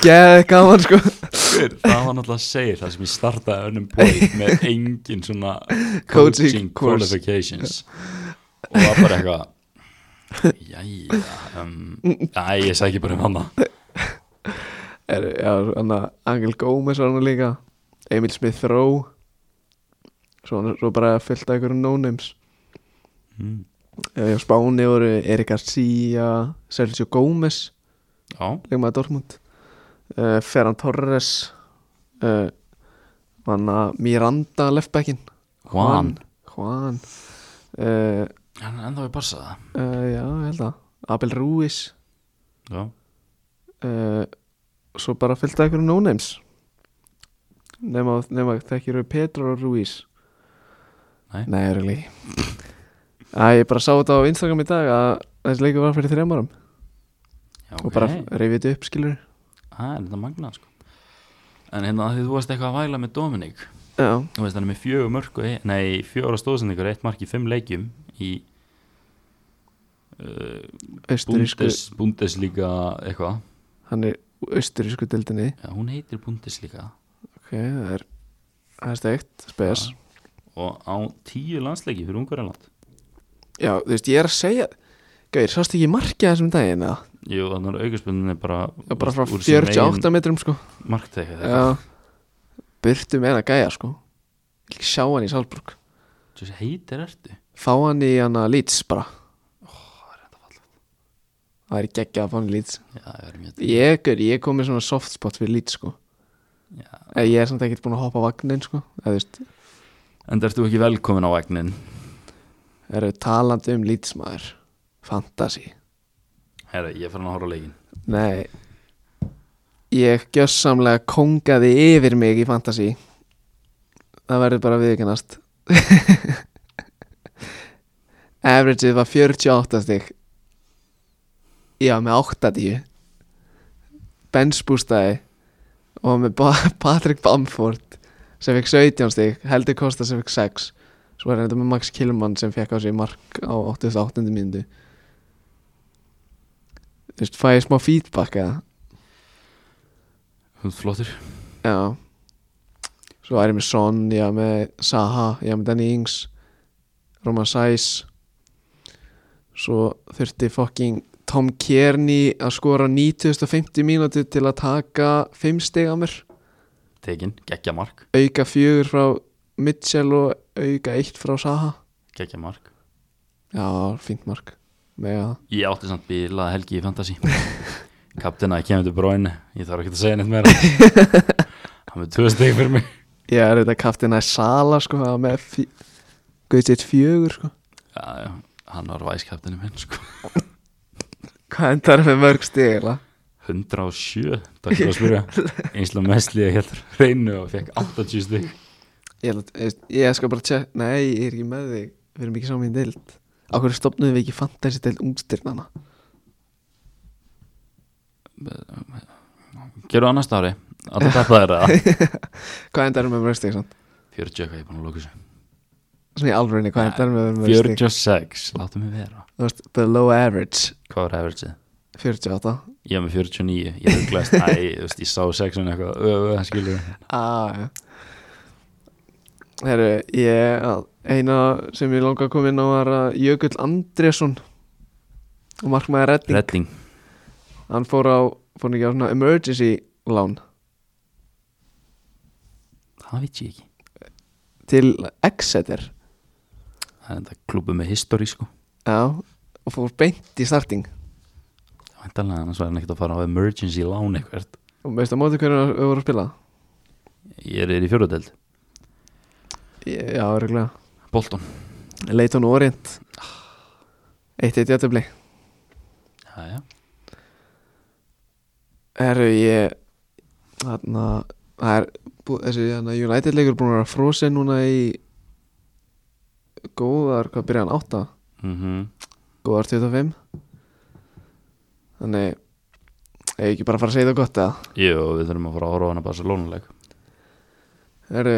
S1: geðið gaman sko
S2: Hver? Það var náttúrulega að segja það sem ég startaði önnum bóið með engin svona
S1: Coaching
S2: coaching
S1: course.
S2: qualifications og það bara eitthvað Jæja um, Æ, ég sagði ekki bara um hana
S1: er, já, anna, Angel Gómez var hann líka Emil Smith Rowe svo, svo bara fyllt að einhverjum no-names
S2: Mm.
S1: Eh, á Spáni voru Erik Garcia Sergio Gómez
S2: Já,
S1: leikmaði Dortmund uh, Ferran Torres uh, manna Miranda leftbackin
S2: Juan
S1: Juan uh,
S2: Hann er ennþá við barsa það
S1: uh, já, ég held að Abel Ruiz
S2: Já,
S1: uh, svo bara fylgta einhverjum no-names nema, nema þekkir við Pedro Ruiz
S2: Nei.
S1: Nei, really Æ, ég bara sá þetta á Instagram í dag að þessi leikur var fyrir þrejum árum
S2: já
S1: og bara
S2: ok
S1: reyfið þetta upp skilur
S2: Það er þetta magnað sko En hérna að því þú varst eitthvað að væla með Dominik
S1: Já,
S2: Þú veist hann er með fjögur mörg og eitt Nei, fjögur stóðsendingur, eitt mark í fimm leikjum í uh,
S1: austurísku
S2: Bundes, Bundesliga eitthvað
S1: hann er úr austurísku dildinni
S2: Já, hún heitir Bundesliga
S1: ok, það er það er steikt, spes
S2: Já. og á tíu landsleiki fyrir Ungarland
S1: já, þú veist, ég er að segja gauðir, sást ekki markið þessum daginn eða?
S2: Jú, þannig að aukurspunni er bara
S1: Já, bara frá
S2: úr sinni
S1: 48 metrum sko
S2: eigin marktæki eða eitthvað.
S1: já, burtu með hann að gæja sko Ég vil ekki sjá hann í Salzburg
S2: Þessi heitir ertu
S1: fá hann í hann að Leeds bara það er geggjað að fá hann í Leeds
S2: Já, það er mjög
S1: ég, gaur, ég kom með svona soft spot fyrir Leeds sko
S2: Já.
S1: Eh, ég er samt ekkert búin að hoppa vagnin sko eða þú veist,
S2: En ertu ekki velkomin á vagnin
S1: eru talandi um Leeds maður fantasy
S2: Herra, ég er farin að horfa á leikin
S1: Nei Ég gjössamlega kongaði yfir mig í fantasy Það verður bara viðkennast Averageið var 48 stig Já, með 80 Benchbústaði Og með ba- Patrick Bamford Sem fekk 17 stig Heldur Kosta sem fekk 6 Svo var þetta með Max Killmann sem fekk á sig mark á 88. mínútu Þú veist, fæ ég smá feedback eða
S2: Þú ert flottur
S1: Já Svo er ég með Son, ég er með Saha, ég er með Danny Ings Roman Sais Svo þurfti fucking Tom Kearney að skora 9050 mínútu til að taka 5 stig á mér
S2: Tekin, geggja mark,
S1: Auka 4 frá Mitchell og auka 1 frá Saha
S2: geggja mark
S1: Já, fínt mark Mega það
S2: Ég átti samt bíla helgi í fantasy Kaptina, ég kemur til bróin Ég þarf ekki að segja neitt meira Hann er tvö steg fyrir mig
S1: Ég er auðvitað kaftin að Sala sko, það var með Guðið sitt fjögur sko
S2: Já, já, hann var væskaptinu minn sko
S1: Hvað endar með mörg stig eða?
S2: 107, takk fyrir að spyrja einslega mestli ég held reynu og fekk 80 stygg
S1: Ég, held að- ég, ég skal bara tjekk Nei, ég er ekki með þig Við erum ekki saman í deild Á hverju stopnum við ekki fantasy deild ungstyrnana
S2: Gerðu annars ári, að það tappa þér að
S1: Hvað endar um með mörg stig? samt?
S2: 40 eitthvað, ég er búin að lóka þessu
S1: Svona í alvörinni, hvað endar um með mörg stig?
S2: 46, láttu mig vera
S1: Þú veist, below average
S2: Hvað var averageið?
S1: 48
S2: Ég var með 49, ég er glæst Æ, þú veist, ég sá 6 en eitthvað Ö, ö, skilur
S1: ah, Herru, ég að- Eina sem ég langa að koma inn á var að Jökull Andrésson og markmaði Redding
S2: Redding,
S1: Hann fór á, fór hann ekki á svona emergency lán
S2: það veit ég ekki
S1: til Exeter
S2: Það er þetta klubbu með history sko
S1: Já, og fór beint í starting
S2: Já, Væntanlega, annars var hann ekkert að fara á emergency lán eitthvað
S1: og veistu að móti hverju við vorum að spila
S2: Ég er í fjóruðdeld,
S1: já, örgulega
S2: Bolton
S1: Leiton Orient Eitt eitt jættubli
S2: Jæja,
S1: Herru ég Þarna Það er bú- Þessi hana, United leikur búin að vera frosin núna í Góðar Hvað byrja hann átta
S2: mm
S1: Góðar 25 Þannig Ég ekki bara að fara að segja það gott eða
S2: Jú, við þurfum að fara að horfa á hana Barcelona-leik
S1: Herru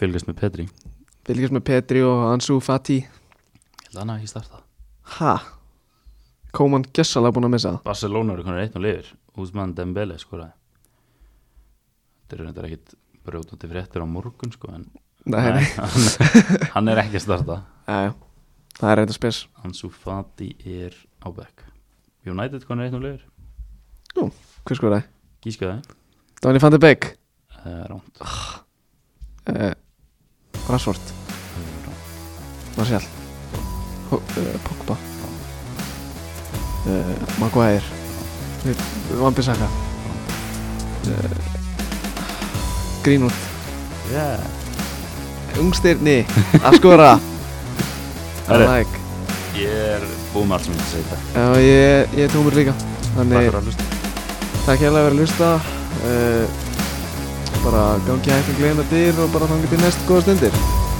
S2: Fylgist með Petri Ég
S1: Fylgjast með Petri og Ansu Fati
S2: held að hann hafi ekki starta
S1: Ha Koman gessalega búin að missa það.
S2: Barcelona eru konar einn og lifir Úsmann Dembele skoraði Þetta eru þetta ekkit brjótandi fréttir á morgun sko en
S1: Nei, nei.
S2: hann, hann er ekki að starta
S1: Jæja. Það er reynda spes
S2: Ansu Fati er á bekk United konar einn og lifir
S1: Hvers sko það?
S2: Gískaði,
S1: Donny van de Beek
S2: það er ránt
S1: uh, Rashford Martial Ho- eh, Pogba uh, Maguire Vambisaka uh, Eh, Greenwood
S2: yeah.
S1: Ungstirni að skora
S2: Herri.
S1: like.
S2: Ég er búið með allt sem ég ætla að segja í dag
S1: Já, ég, ég er tómur líka
S2: Takk
S1: Þannig
S2: fyrir að hlusta
S1: takk hérlega fyrir að hlusta Eh, uh, bara gangi hægt að gleyna dyr og bara þangi til næst góða stundir